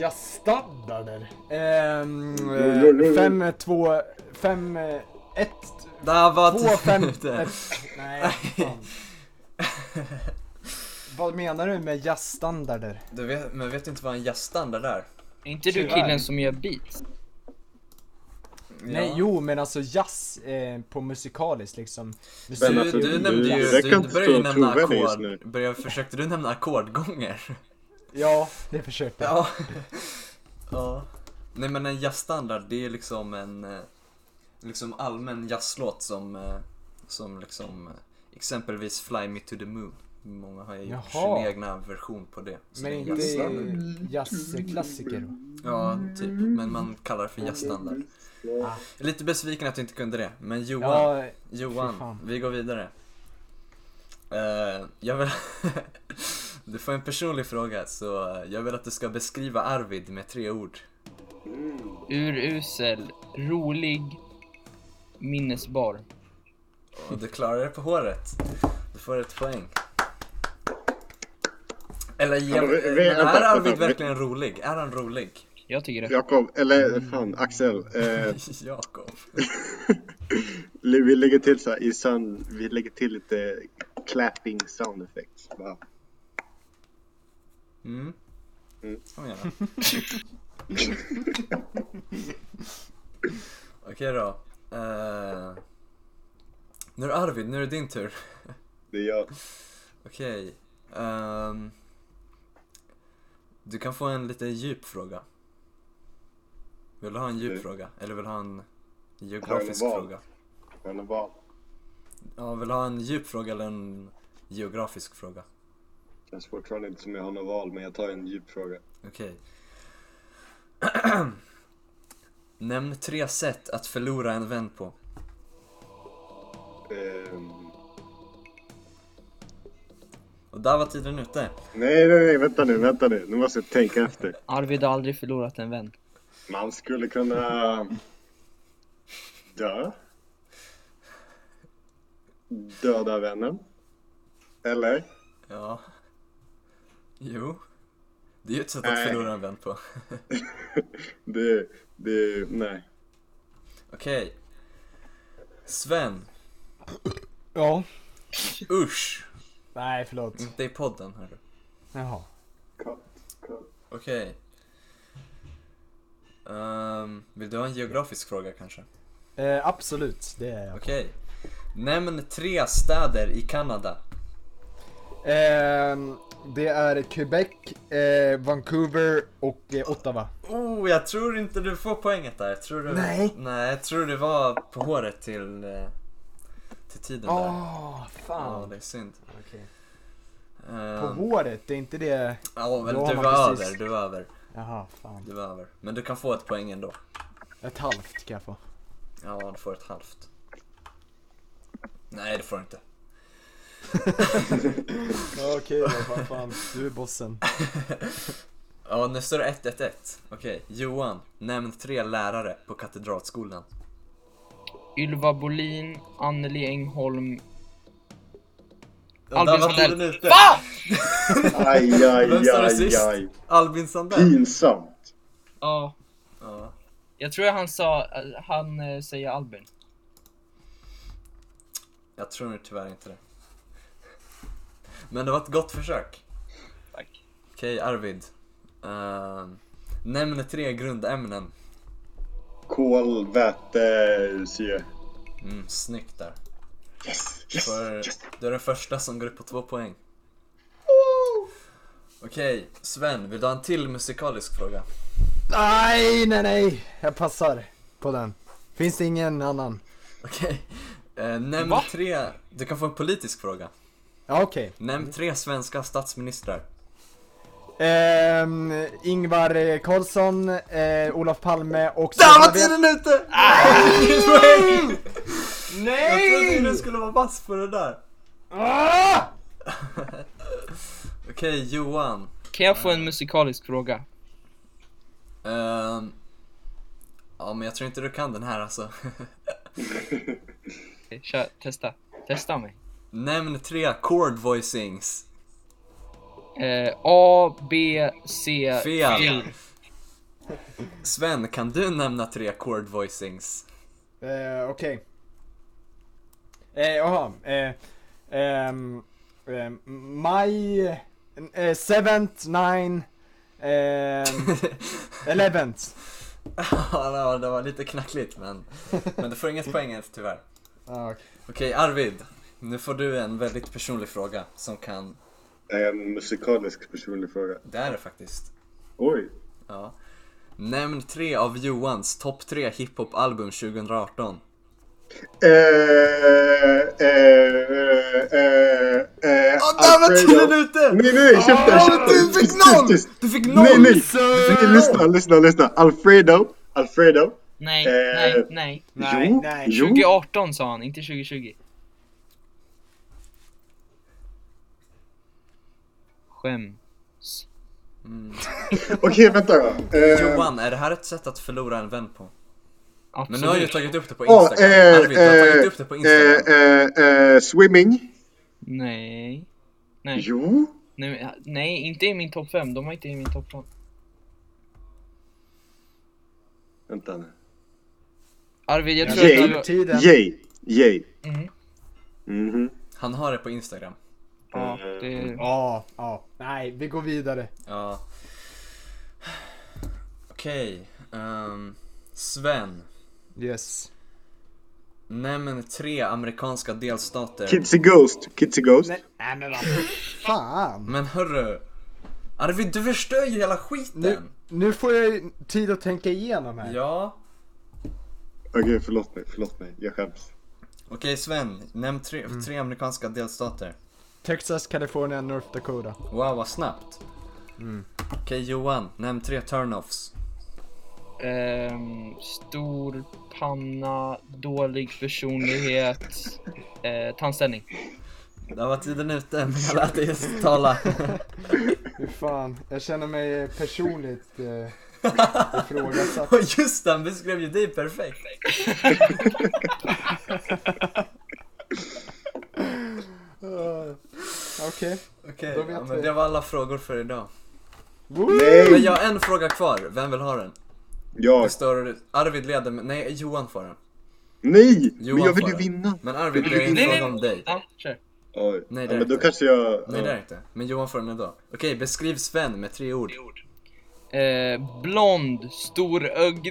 Speaker 2: Jag standarder. Ehm,
Speaker 4: Jo, jo, jo.
Speaker 2: eh, fem, eh, två, fem, eh, ett,
Speaker 1: Där var
Speaker 2: två, fem,
Speaker 1: tiden ute.
Speaker 2: ett. Nej, fan. Vad menar du med jazzstandarder?
Speaker 1: Du vet, men vet du inte vad en jazzstandard är?
Speaker 3: Är inte du
Speaker 2: Tyvärr.
Speaker 3: killen som gör beats?
Speaker 2: Nej,
Speaker 1: Ja.
Speaker 2: jo men alltså jazz eh, på musikaliskt liksom.
Speaker 1: Du,
Speaker 2: Musik-
Speaker 4: Men alltså,
Speaker 1: du
Speaker 4: du-
Speaker 1: nämnde ju,
Speaker 4: jag kan
Speaker 1: du
Speaker 4: inte
Speaker 1: började ju
Speaker 4: stå
Speaker 1: nämna
Speaker 4: trovärdig just nu.
Speaker 1: ackord, började, försökte du nämna ackordgånger?
Speaker 2: Ja, det försökte jag.
Speaker 1: Ja. ja. Nej men en jazzstandard det är liksom en eh, liksom allmän jazzlåt som eh, som liksom eh, exempelvis Fly Me To The Moon. Många har ju gjort
Speaker 2: Jaha.
Speaker 1: sin egna version på det. Så
Speaker 2: Men
Speaker 1: det är
Speaker 2: inte
Speaker 1: jazzstandard.
Speaker 2: jazzklassiker va?
Speaker 1: Ja, typ. Men man kallar det för jazzstandard.
Speaker 2: Ah.
Speaker 1: Jag är lite besviken att du inte kunde det. Men Johan,
Speaker 2: Ja, Fy
Speaker 1: Johan,
Speaker 2: fan.
Speaker 1: vi går vidare. Eh, jag vill... du får en personlig fråga, så eh, jag vill att du ska beskriva Arvid med tre ord.
Speaker 3: Urusel, rolig, minnesbar.
Speaker 1: Och du klarar det på håret. Du får ett poäng. Eller ge...
Speaker 4: Ja, men vi- vi-
Speaker 1: Men är
Speaker 4: vänta,
Speaker 1: Arvid
Speaker 4: vänta, vi-
Speaker 1: verkligen rolig? Är han rolig?
Speaker 3: Jag tycker det.
Speaker 4: Jakob, eller fan Axel. Eh,
Speaker 1: Jakob.
Speaker 4: vi lägger till så här, i sound, vi lägger till lite clapping sound effects. Wow.
Speaker 1: Mm.
Speaker 4: Mm.
Speaker 1: Kom igen då. Okej då. Eh, nu är det Arvid, nu är det din tur.
Speaker 4: Det är jag.
Speaker 1: Okej. ehm, du kan få en lite djup fråga. Vill du ha en djup
Speaker 4: Okej.
Speaker 1: fråga? Eller vill du ha en geografisk
Speaker 4: val.
Speaker 1: fråga?
Speaker 4: Men det var
Speaker 1: Ja, vill du ha en djup fråga eller en geografisk fråga?
Speaker 4: känns fortfarande inte som jag har något val, men jag tar en djup fråga.
Speaker 1: Okej. Nämn tre sätt att förlora en vän på.
Speaker 4: Ehm,
Speaker 1: Och där var tiden ute.
Speaker 4: nej, nej, nej, vänta nu, vänta nu. Nu måste jag tänka efter.
Speaker 3: Arvid har aldrig förlorat en vän.
Speaker 4: Man skulle kunna... Dö. Döda vännen. Eller?
Speaker 1: Ja. Jo. Det är ju ett sätt att
Speaker 4: Nej.
Speaker 1: förlora en vän på.
Speaker 4: Det, det, nej.
Speaker 1: Okej. Sven.
Speaker 2: ja.
Speaker 1: Usch.
Speaker 2: Nej förlåt.
Speaker 1: Inte i podden hörru.
Speaker 2: Jaha.
Speaker 4: Cut, cut.
Speaker 1: Okej. Ehm, vill du ha en geografisk fråga kanske?
Speaker 2: Eh, absolut, det är jag.
Speaker 1: Okej. Nämn tre städer i Kanada.
Speaker 2: Ehm, det är Quebec, eh, Vancouver och eh, Ottawa.
Speaker 1: Oh, jag tror inte du får poänget där. Jag tror du...
Speaker 2: Nej.
Speaker 1: Nej, jag tror det var på håret till, eh, till tiden
Speaker 2: Åh,
Speaker 1: där. Ja,
Speaker 2: fan.
Speaker 1: det är synd.
Speaker 2: Okej. På
Speaker 1: Ehm,
Speaker 2: håret, det är inte det...
Speaker 1: Ja, men
Speaker 2: Då har
Speaker 1: du
Speaker 2: man
Speaker 1: var
Speaker 2: precis-
Speaker 1: över, du var över,
Speaker 2: Jaha, fan.
Speaker 1: du var över. Men du kan få ett poäng ändå.
Speaker 2: Ett halvt kan jag få.
Speaker 1: Ja, du får ett halvt. Nej, det får du inte.
Speaker 2: Okej okay, fan, fan. Du är bossen.
Speaker 1: Ja, nu står det 1-1-1. Okej, Johan, nämn tre lärare på Katedralskolan.
Speaker 3: Ylva Bolin, Anneli Engholm.
Speaker 1: Ja, där
Speaker 3: Albin
Speaker 1: var tiden
Speaker 3: Sandell.
Speaker 1: ute.
Speaker 4: Aj, aj,
Speaker 1: Vem står det
Speaker 4: aj,
Speaker 1: sist?
Speaker 4: aj.
Speaker 1: Albin Sandell.
Speaker 4: Pinsamt.
Speaker 3: Ja,
Speaker 1: Ja.
Speaker 3: jag tror han sa, han eh, säger Albin.
Speaker 1: Jag tror tyvärr inte det. Men det var ett gott försök.
Speaker 3: Tack.
Speaker 1: Okej, Arvid. Ehm, nämn tre grundämnen.
Speaker 4: Kol, väte, syre.
Speaker 1: Mm, snyggt där.
Speaker 4: Yes, yes,
Speaker 1: För
Speaker 4: yes.
Speaker 1: du är den första som går upp på två poäng. Okej, Sven, vill du ha en till musikalisk fråga?
Speaker 2: Nej, nej, nej. Jag passar på den. Finns det ingen annan?
Speaker 1: Okej. Eh, nämn
Speaker 3: Va?
Speaker 1: tre... Du kan få en politisk fråga.
Speaker 2: Ja, okej.
Speaker 1: Nämn tre svenska statsministrar.
Speaker 2: Ehm, Ingvar eh, Carlsson, eh, Olof Palme och...
Speaker 1: Där var
Speaker 2: Stefan Löfven.
Speaker 1: tiden ute! Ditt poäng! Ah! Jag trodde ju du
Speaker 2: Nej!
Speaker 1: skulle vara vass på det där.
Speaker 2: Ah!
Speaker 1: Okej, Johan.
Speaker 3: Kan jag få en musikalisk fråga?
Speaker 1: Ehm, ja, men jag tror inte du kan den här alltså.
Speaker 3: Eh, Kör, testa. Testa mig.
Speaker 1: Nämn tre chord voicings.
Speaker 3: Eh, A, B, C,
Speaker 1: Fel.
Speaker 3: D.
Speaker 1: Sven, kan du nämna tre chord voicings?
Speaker 2: Eh, okej. Eh, jaha. Eh, ehm, eh, maj... Eh, seventh, nine... ehm, eleventh.
Speaker 1: Ja, det var- det var lite knackligt men, men du får inget poäng ens tyvärr.
Speaker 2: Ah, okej.
Speaker 1: Okej Arvid, nu får du en väldigt personlig fråga som kan,
Speaker 4: En musikalisk personlig fråga.
Speaker 1: det är det faktiskt.
Speaker 4: Oj.
Speaker 1: Ja. Nämn tre av Johans topp tre hiphop-album 2018.
Speaker 4: Eh, eh, eh, eh,
Speaker 1: Åh, där var
Speaker 4: Alfredo.
Speaker 1: tiden ute!
Speaker 4: Nej, nej, käften,
Speaker 1: Åh,
Speaker 4: käften!
Speaker 1: du fick
Speaker 4: Tyst, tyst,
Speaker 1: noll!
Speaker 4: tyst.
Speaker 1: Du fick
Speaker 4: Nej,
Speaker 1: noll!
Speaker 4: nej. Nej, lyssna, lyssna, lyssna. Alfredo. Alfredo.
Speaker 3: Nej,
Speaker 4: Eh,
Speaker 3: nej, nej.
Speaker 5: Nej,
Speaker 4: jo,
Speaker 5: nej.
Speaker 4: jo.
Speaker 3: 2018 sa han, inte 2020. Skäms.
Speaker 4: Okej, vänta då. Eh,
Speaker 1: Johan, är det här ett sätt att förlora en vän på? Men
Speaker 3: Absolut.
Speaker 1: nu har jag ju tagit upp det på
Speaker 4: åh,
Speaker 1: Instagram.
Speaker 4: eh,
Speaker 1: Arvid, du har tagit upp det på
Speaker 4: eh,
Speaker 1: Instagram.
Speaker 4: eh, eh, swimming.
Speaker 3: Nej. Nej.
Speaker 4: Jo.
Speaker 3: Nej, men- nej, inte i min topp 5. De var inte i min topp 5.
Speaker 4: Vänta nu.
Speaker 3: Arvid, jag tror
Speaker 4: Yay.
Speaker 3: att du... var-
Speaker 2: Tiden.
Speaker 4: Yay. Yay.
Speaker 3: Mm.
Speaker 4: Mhm.
Speaker 1: Han har det på Instagram.
Speaker 3: Ja, det...
Speaker 2: Ja, ja. Nej, vi går vidare.
Speaker 1: Ja. Okej. ehm, Sven.
Speaker 2: Yes.
Speaker 1: Nämn tre amerikanska delstater.
Speaker 4: Kids a Ghost. Kids a Ghost.
Speaker 2: Nej, nej men vad fan.
Speaker 1: Men hörru. Arvid, du förstör ju hela skiten.
Speaker 2: Nu, nu får jag ju tid att tänka igenom här.
Speaker 1: Ja.
Speaker 4: Okej, förlåt mig. Förlåt mig. Jag skäms.
Speaker 1: Okej Sven, nämn tre, tre amerikanska delstater.
Speaker 2: Texas, Kalifornien, North Dakota.
Speaker 1: Wow, vad snabbt. Okej Johan, nämn tre turn-offs.
Speaker 3: Ehm, stor panna, dålig personlighet, eh, tandställning.
Speaker 1: Där var tiden ute, men jag lät dig tala.
Speaker 2: Hur fan, jag känner mig personligt eh, ifrågasatt.
Speaker 1: Och just det, han beskrev ju dig perfekt.
Speaker 2: Eh, Okej.
Speaker 1: Okej,
Speaker 2: Då vet
Speaker 1: ja, men
Speaker 2: vi.
Speaker 1: det var alla frågor för idag.
Speaker 2: Woo!
Speaker 1: Men
Speaker 4: Nej!
Speaker 1: jag har en fråga kvar, vem vill ha den? Det
Speaker 4: Jag.
Speaker 1: står Arvid leder, men nej Johan får den.
Speaker 4: Nej!
Speaker 1: Johan
Speaker 4: men jag vill
Speaker 1: får
Speaker 4: ju
Speaker 1: den.
Speaker 4: vinna.
Speaker 1: Men Arvid, det är
Speaker 4: Nej,
Speaker 1: en
Speaker 3: nej,
Speaker 1: fråga
Speaker 3: nej.
Speaker 1: om dig.
Speaker 3: Ja, kör.
Speaker 4: Oj.
Speaker 1: Nej, det
Speaker 4: ja,
Speaker 1: är
Speaker 4: men då
Speaker 1: inte.
Speaker 4: kanske jag...
Speaker 1: Nej
Speaker 4: ja.
Speaker 1: det är inte, men Johan får den ändå. Okej, beskriv Sven med tre ord.
Speaker 3: Eh, blond, storögd,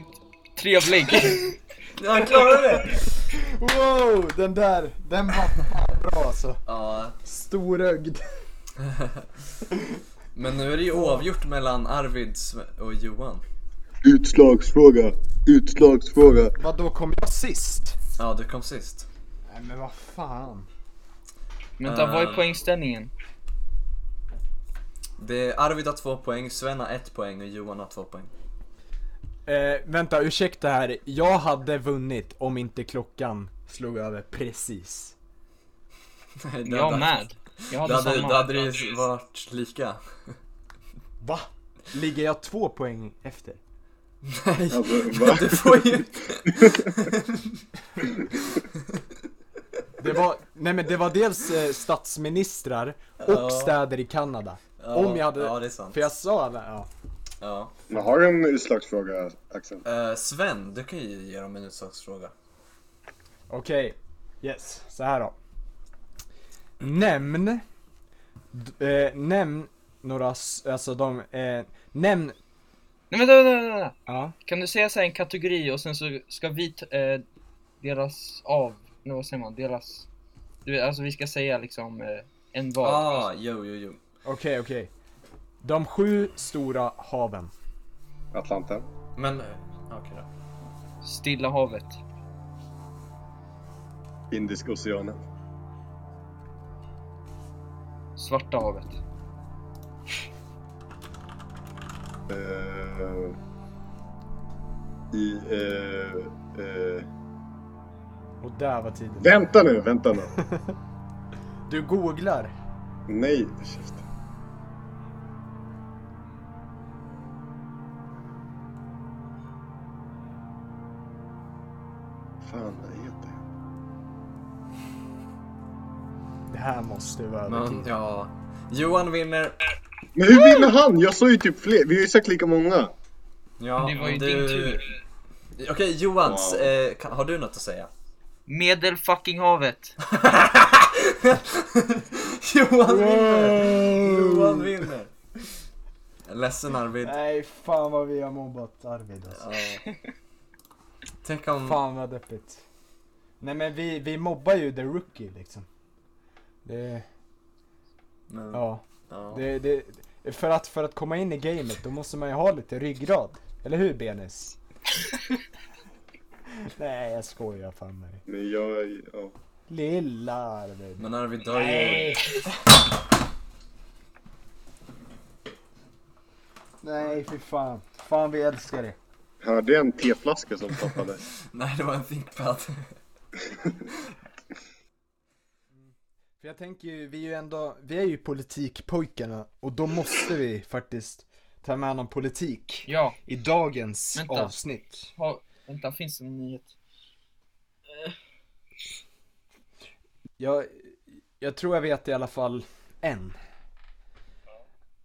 Speaker 3: trevlig.
Speaker 1: Ja, han klarade det!
Speaker 2: Wow, den där, den var fan bra alltså.
Speaker 1: Ja,
Speaker 2: Storögd.
Speaker 1: men nu är det ju oavgjort mellan Arvid Sve- och Johan.
Speaker 4: Utslagsfråga. Utslagsfråga.
Speaker 2: Vadå, kom jag sist?
Speaker 1: Ja, du kom sist.
Speaker 2: Nej men vad fan.
Speaker 3: Vänta, vad är
Speaker 1: Ehm.
Speaker 3: poängställningen?
Speaker 1: Det är Arvid har två poäng, Sven har ett poäng och Johan har två poäng.
Speaker 2: Eh, vänta, ursäkta här. Jag hade vunnit om inte klockan slog över precis.
Speaker 1: Nej, det hade-
Speaker 3: Jag med. Jag
Speaker 1: Då
Speaker 3: hade
Speaker 1: hade, då
Speaker 3: samma.
Speaker 1: hade det ju varit lika.
Speaker 2: Va? Ligger jag två poäng efter?
Speaker 1: Nej,
Speaker 4: Alltså, va?
Speaker 1: du får ju...
Speaker 2: Det var, nej men det var dels eh, statsministrar och
Speaker 1: Ja.
Speaker 2: städer i Kanada.
Speaker 1: Ja,
Speaker 2: Om jag hade-
Speaker 1: Ja, det är sant.
Speaker 2: För jag sa alla, ja.
Speaker 1: Ja.
Speaker 4: Men har du en utslagsfråga, Axel?
Speaker 1: Eh, Sven, du kan ju ge dem en utslagsfråga.
Speaker 2: Okej, yes. Så här då. Nämn, d- eh, nämn några, s- alltså de, eh, nämn,
Speaker 3: Nej, vänta, vänta, vänta, vänta.
Speaker 2: ja.
Speaker 3: Kan du säga så här en kategori och sen så ska vi t- eh, delas av, nu vad säger man, delas. Du vet, alltså vi ska säga liksom eh, en var.
Speaker 1: Ah, jo, jo, jo.
Speaker 2: Okej, okej. De sju stora haven.
Speaker 4: Atlanta.
Speaker 1: Men, eh, okej då.
Speaker 3: Stilla havet.
Speaker 4: Indiska oceanen.
Speaker 3: Svarta havet.
Speaker 4: Eh, I... eh, eh,
Speaker 2: Och där var tiden.
Speaker 4: vänta nu, vänta nu.
Speaker 2: Du googlar.
Speaker 4: Nej, käften. Fan, vad heter jag?
Speaker 2: Det här måste vara över
Speaker 1: Men,
Speaker 2: tiden.
Speaker 1: ja. Johan vinner.
Speaker 4: Men hur vinner han? Jag sa ju typ fler. Vi har ju sagt lika många.
Speaker 1: Ja,
Speaker 3: det var
Speaker 1: Ah, men
Speaker 3: ju
Speaker 1: du-
Speaker 3: din tur.
Speaker 1: Okej, Johan, s-
Speaker 4: Wow.
Speaker 1: eh, kan, har du något att säga?
Speaker 3: Medelfuckinghavet.
Speaker 1: Johan vinner! Johan vinner! Ledsen Arvid.
Speaker 2: Nej, fan vad vi har mobbat Arvid alltså.
Speaker 1: Ja. Tänk om...
Speaker 2: Fan vad deppigt. Nej men vi, vi mobbar ju the rookie liksom. Det,
Speaker 1: Men, ja.
Speaker 2: ja. Det, det, för, att, för att komma in i gamet då måste man ju ha lite ryggrad. Eller hur Benis? Nej, jag skojar fan med dig.
Speaker 4: Men jag, ja.
Speaker 2: Lilla Arvid.
Speaker 1: Men Arvid dör ju.
Speaker 2: Nej! Nej, fy fan. Fan, vi älskar dig.
Speaker 4: Hörde jag en teflaska som tappade?
Speaker 1: Nej, det var en thinkpad.
Speaker 2: För jag tänker ju, vi är ju ändå, vi är ju politikpojkarna och då måste vi faktiskt ta med någon politik
Speaker 3: Ja,
Speaker 2: i dagens
Speaker 3: Vänta.
Speaker 2: avsnitt.
Speaker 3: ha, vänta, finns det en nyhet?
Speaker 2: Jag, jag tror jag vet i alla fall en.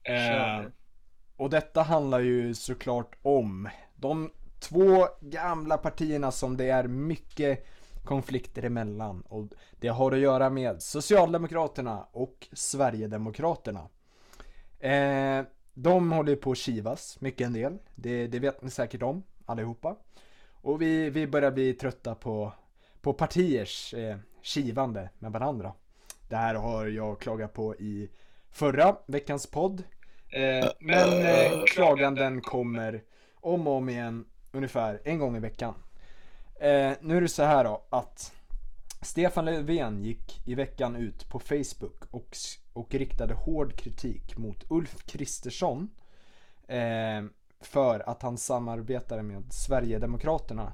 Speaker 3: Kör
Speaker 2: Eh,
Speaker 3: nu.
Speaker 2: och detta handlar ju såklart om de två gamla partierna som det är mycket konflikter emellan och det har att göra med Socialdemokraterna och Sverigedemokraterna. Eh, de håller ju på att kivas mycket en del. Det, det vet ni säkert om allihopa. Och vi, vi börjar bli trötta på, på partiers eh, kivande med varandra. Det här har jag klagat på i förra veckans podd. Eh, men eh, klaganden kommer om och om igen ungefär en gång i veckan. Eh, nu är det så här då att Stefan Löfven gick i veckan ut på Facebook och, s- och riktade hård kritik mot Ulf Kristersson eh, för att han samarbetade med Sverigedemokraterna.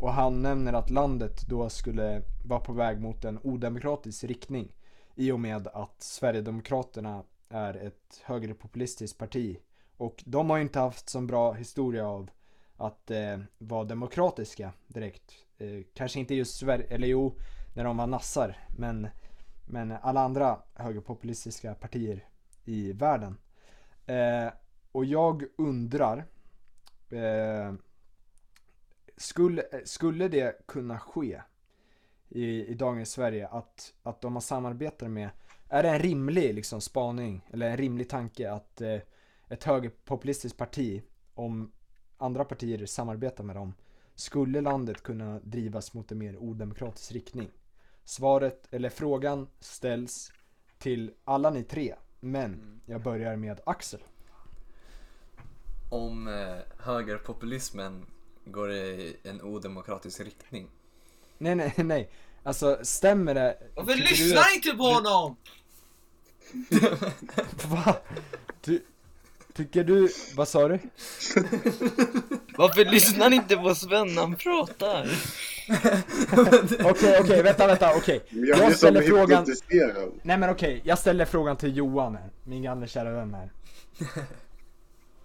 Speaker 2: Och han nämner att landet då skulle vara på väg mot en odemokratisk riktning i och med att Sverigedemokraterna är ett högerpopulistiskt parti. Och de har ju inte haft så bra historia av att eh, vara demokratiska direkt. Eh, kanske inte just Sverige, eller jo, när de var nassar, men, men alla andra högerpopulistiska partier i världen. Eh, och jag undrar, eh, skulle, eh, skulle det kunna ske i, i dagens Sverige att, att de man samarbetar med, är det en rimlig liksom, spaning eller en rimlig tanke att eh, ett högerpopulistiskt parti, om andra partier samarbetar med dem, skulle landet kunna drivas mot en mer odemokratisk riktning? Svaret, eller frågan ställs till alla ni tre, men jag börjar med Axel.
Speaker 1: Om eh, högerpopulismen går i en odemokratisk riktning.
Speaker 2: Nej, nej, nej. Alltså, stämmer det?
Speaker 3: Varför
Speaker 2: Tycker du
Speaker 3: lyssnar inte på honom?
Speaker 2: att- Va? Du, tycker du, vad sa du?
Speaker 3: Varför lyssnar inte på Sven när han pratar?
Speaker 2: Okej, okej, vänta, vänta, okej.
Speaker 4: Men Jag
Speaker 2: Jag
Speaker 4: blir som
Speaker 2: ställer frågan,
Speaker 4: hypnotiserad.
Speaker 2: nej men okej, jag ställer frågan till Johan här, min gamla kära vän här.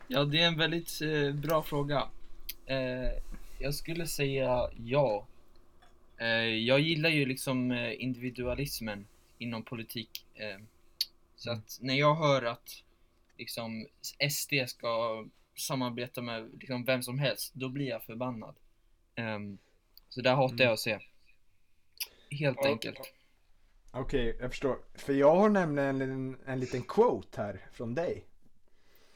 Speaker 3: Ja, det är en väldigt eh, bra fråga. Eh, jag skulle säga ja. Eh, jag gillar ju liksom eh, individualismen inom politik. Eh, så att när jag hör att liksom SD ska samarbeta med liksom vem som helst, då blir jag förbannad. Ehm, så där hatar jag att se. Helt enkelt.
Speaker 2: Okej, jag förstår. För jag har nämligen en, en liten quote här från dig.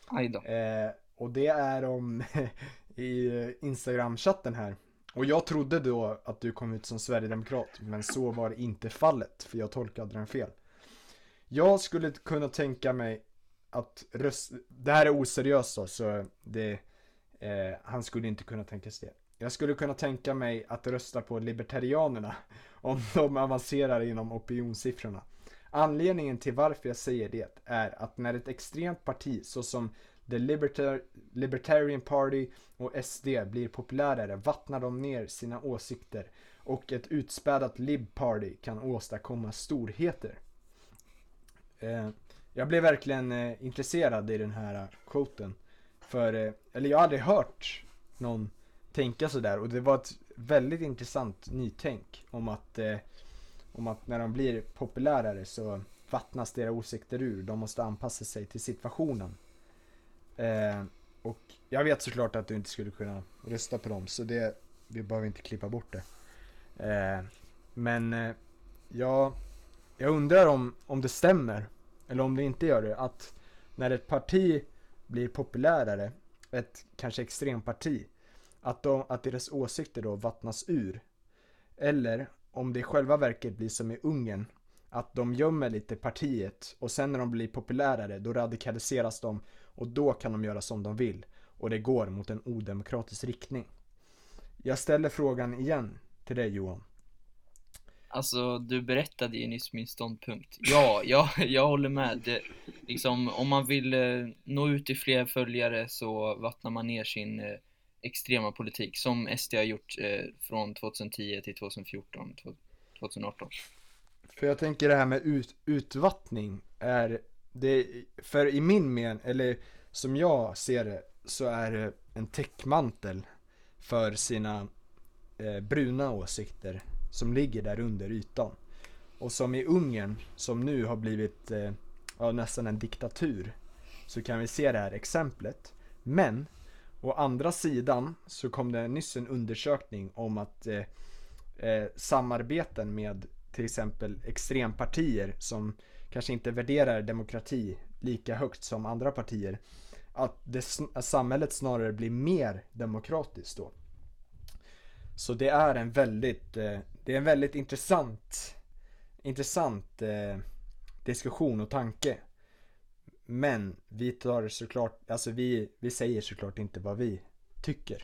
Speaker 3: Aj då.
Speaker 2: Eh, och det är om i Instagram-chatten här. Och jag trodde då att du kom ut som sverigedemokrat, men så var inte fallet, för jag tolkade den fel. Jag skulle kunna tänka mig att röst... Det här är oseriöst då, så det... Eh, han skulle inte kunna tänka sig det. Jag skulle kunna tänka mig att rösta på Libertarianerna om de avancerar inom opinionssiffrorna. Anledningen till varför jag säger det är att när ett extremt parti såsom The Libertar- Libertarian Party och SD blir populärare vattnar de ner sina åsikter och ett utspädat Lib Party kan åstadkomma storheter. Eh, jag blev verkligen eh, intresserad i den här eh, quoten. För, eh, eller jag har aldrig hört någon tänka sådär och det var ett väldigt intressant nytänk om att, eh, om att när de blir populärare så vattnas deras åsikter ur. De måste anpassa sig till situationen. Eh, och jag vet såklart att du inte skulle kunna rösta på dem så det, vi behöver inte klippa bort det. Eh, men eh, jag, jag undrar om, om det stämmer, eller om det inte gör det, att när ett parti blir populärare, ett kanske extremparti, att, de, att deras åsikter då vattnas ur. Eller om det i själva verket blir som i Ungern, att de gömmer lite partiet och sen när de blir populärare då radikaliseras de och då kan de göra som de vill och det går mot en odemokratisk riktning. Jag ställer frågan igen till dig Johan.
Speaker 3: Alltså, du berättade ju nyss min ståndpunkt. Ja, jag, jag håller med. Det, liksom, om man vill eh, nå ut till fler följare så vattnar man ner sin eh, extrema politik som SD har gjort eh, från 2010 till 2014, tv- 2018.
Speaker 2: För jag tänker det här med ut, utvattning är det, för i min men, eller som jag ser det, så är det en täckmantel för sina eh, bruna åsikter som ligger där under ytan. Och som i Ungern, som nu har blivit eh, ja, nästan en diktatur, så kan vi se det här exemplet. Men, å andra sidan så kom det nyss en undersökning om att eh, eh, samarbeten med till exempel extrempartier som kanske inte värderar demokrati lika högt som andra partier. Att, det, sn- att samhället snarare blir mer demokratiskt då. Så det är en väldigt, eh, det är en väldigt intressant, intressant eh, diskussion och tanke. Men vi tar såklart, alltså vi, vi säger såklart inte vad vi tycker.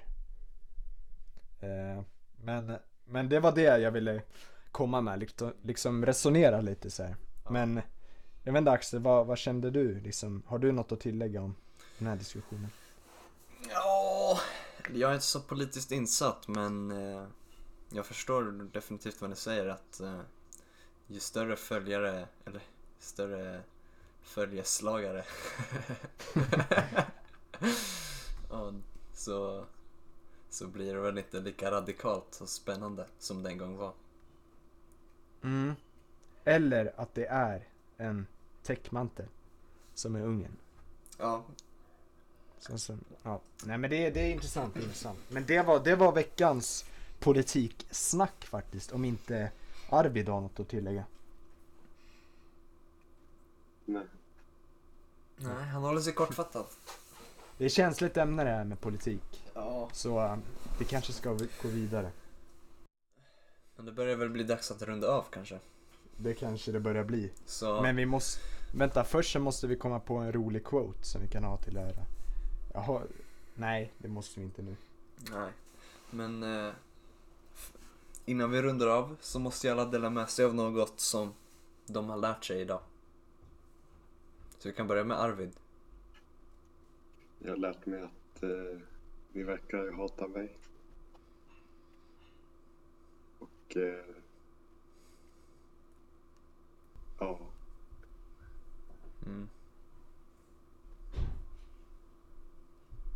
Speaker 2: Eh, men, men det var det jag ville komma med, liksom, liksom resonera lite så här. Men jag vet inte Axel, vad, vad kände du liksom? Har du något att tillägga om den här diskussionen?
Speaker 1: Ja, jag är inte så politiskt insatt men eh, jag förstår definitivt vad ni säger att eh, ju större följare, eller större följeslagare. ja, så, så blir det väl inte lika radikalt och spännande som det en gång var.
Speaker 2: Mm. Eller att det är en täckmantel som är ungen.
Speaker 1: Ja,
Speaker 2: Så, så, ja. Nej men det, är- det är intressant, intressant. Men det var, det var veckans politiksnack faktiskt, om inte Arvid har något att tillägga.
Speaker 4: Nej.
Speaker 1: nej han håller sig kortfattad.
Speaker 2: Det är ett känsligt ämne det här med politik,
Speaker 1: Ja.
Speaker 2: så eh, vi kanske ska vi- gå vidare.
Speaker 1: Men det börjar väl bli dags att runda av kanske.
Speaker 2: Det kanske det börjar bli.
Speaker 1: Så,
Speaker 2: Men vi måste, vänta först så måste vi komma på en rolig quote som vi kan ha till ära. Jaha, nej det måste vi inte nu.
Speaker 1: nej. Men eh, f- innan vi rundar av så måste ju alla dela med sig av något som de har lärt sig idag. Så vi kan börja med Arvid.
Speaker 4: Jag har lärt mig att eh, ni verkar hata mig. Och... Eh, ja.
Speaker 1: Mm.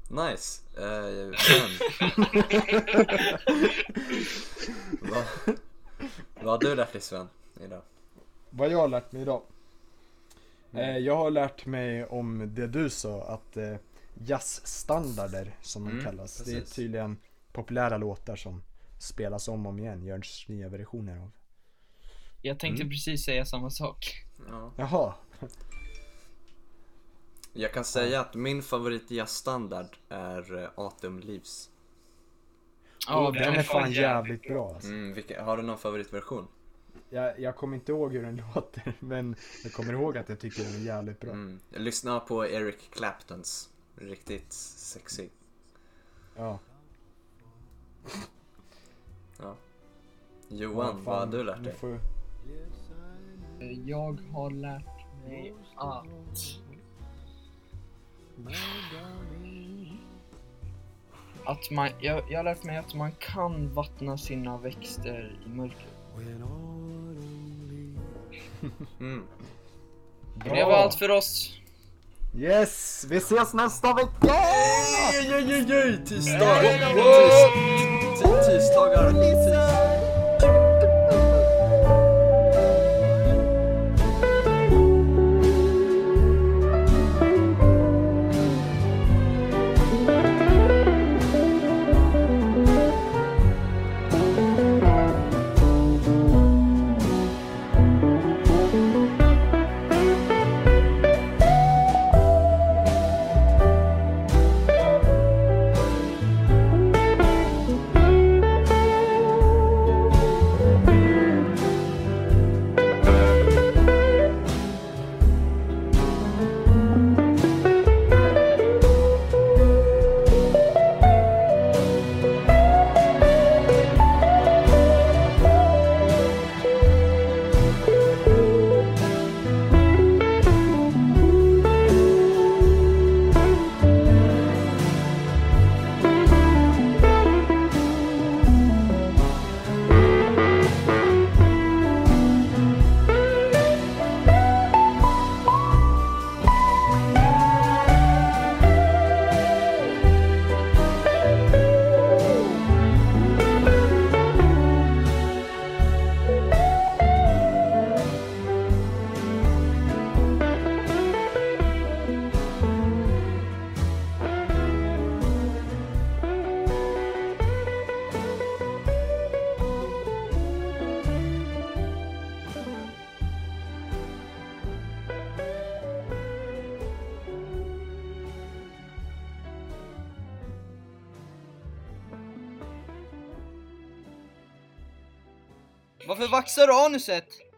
Speaker 1: Nice! Eh, men. vad, vad har du lärt dig Sven idag?
Speaker 2: Vad jag har lärt mig idag? Eh, jag har lärt mig om det du sa, att eh, jazzstandarder som de
Speaker 1: Mm,
Speaker 2: kallas. Det är
Speaker 1: precis.
Speaker 2: tydligen populära låtar som spelas om och om igen, görs nya versioner av.
Speaker 3: Jag tänkte
Speaker 2: Mm.
Speaker 3: precis säga samma sak.
Speaker 1: Ja.
Speaker 2: Jaha,
Speaker 1: Jag kan säga att min favorit jazzstandard är eh, Autumn Leaves.
Speaker 3: Ja,
Speaker 2: Åh, den är fan jävligt bra alltså.
Speaker 1: Mm, vilka, har du någon favoritversion?
Speaker 2: jag, jag kommer inte ihåg hur den låter, men jag kommer ihåg att jag tycker den är jävligt bra.
Speaker 1: Mm. Lyssna på Eric Claptons. Riktigt sexig.
Speaker 2: Ja.
Speaker 1: Johan,
Speaker 2: fan,
Speaker 1: vad har du lärt
Speaker 2: nu
Speaker 1: dig?
Speaker 2: får-
Speaker 3: Jag har lärt mig att... Att man, jag, jag har lärt mig att man kan vattna sina växter i mörker.
Speaker 1: Mm.
Speaker 2: Bra.
Speaker 3: Det var allt för oss.
Speaker 2: Yes! Vi ses nästa vecka!
Speaker 1: Oj, oj, oj, oj, tisdag! Tis- tis- Tisdagar!
Speaker 3: Varför vaxar du anuset?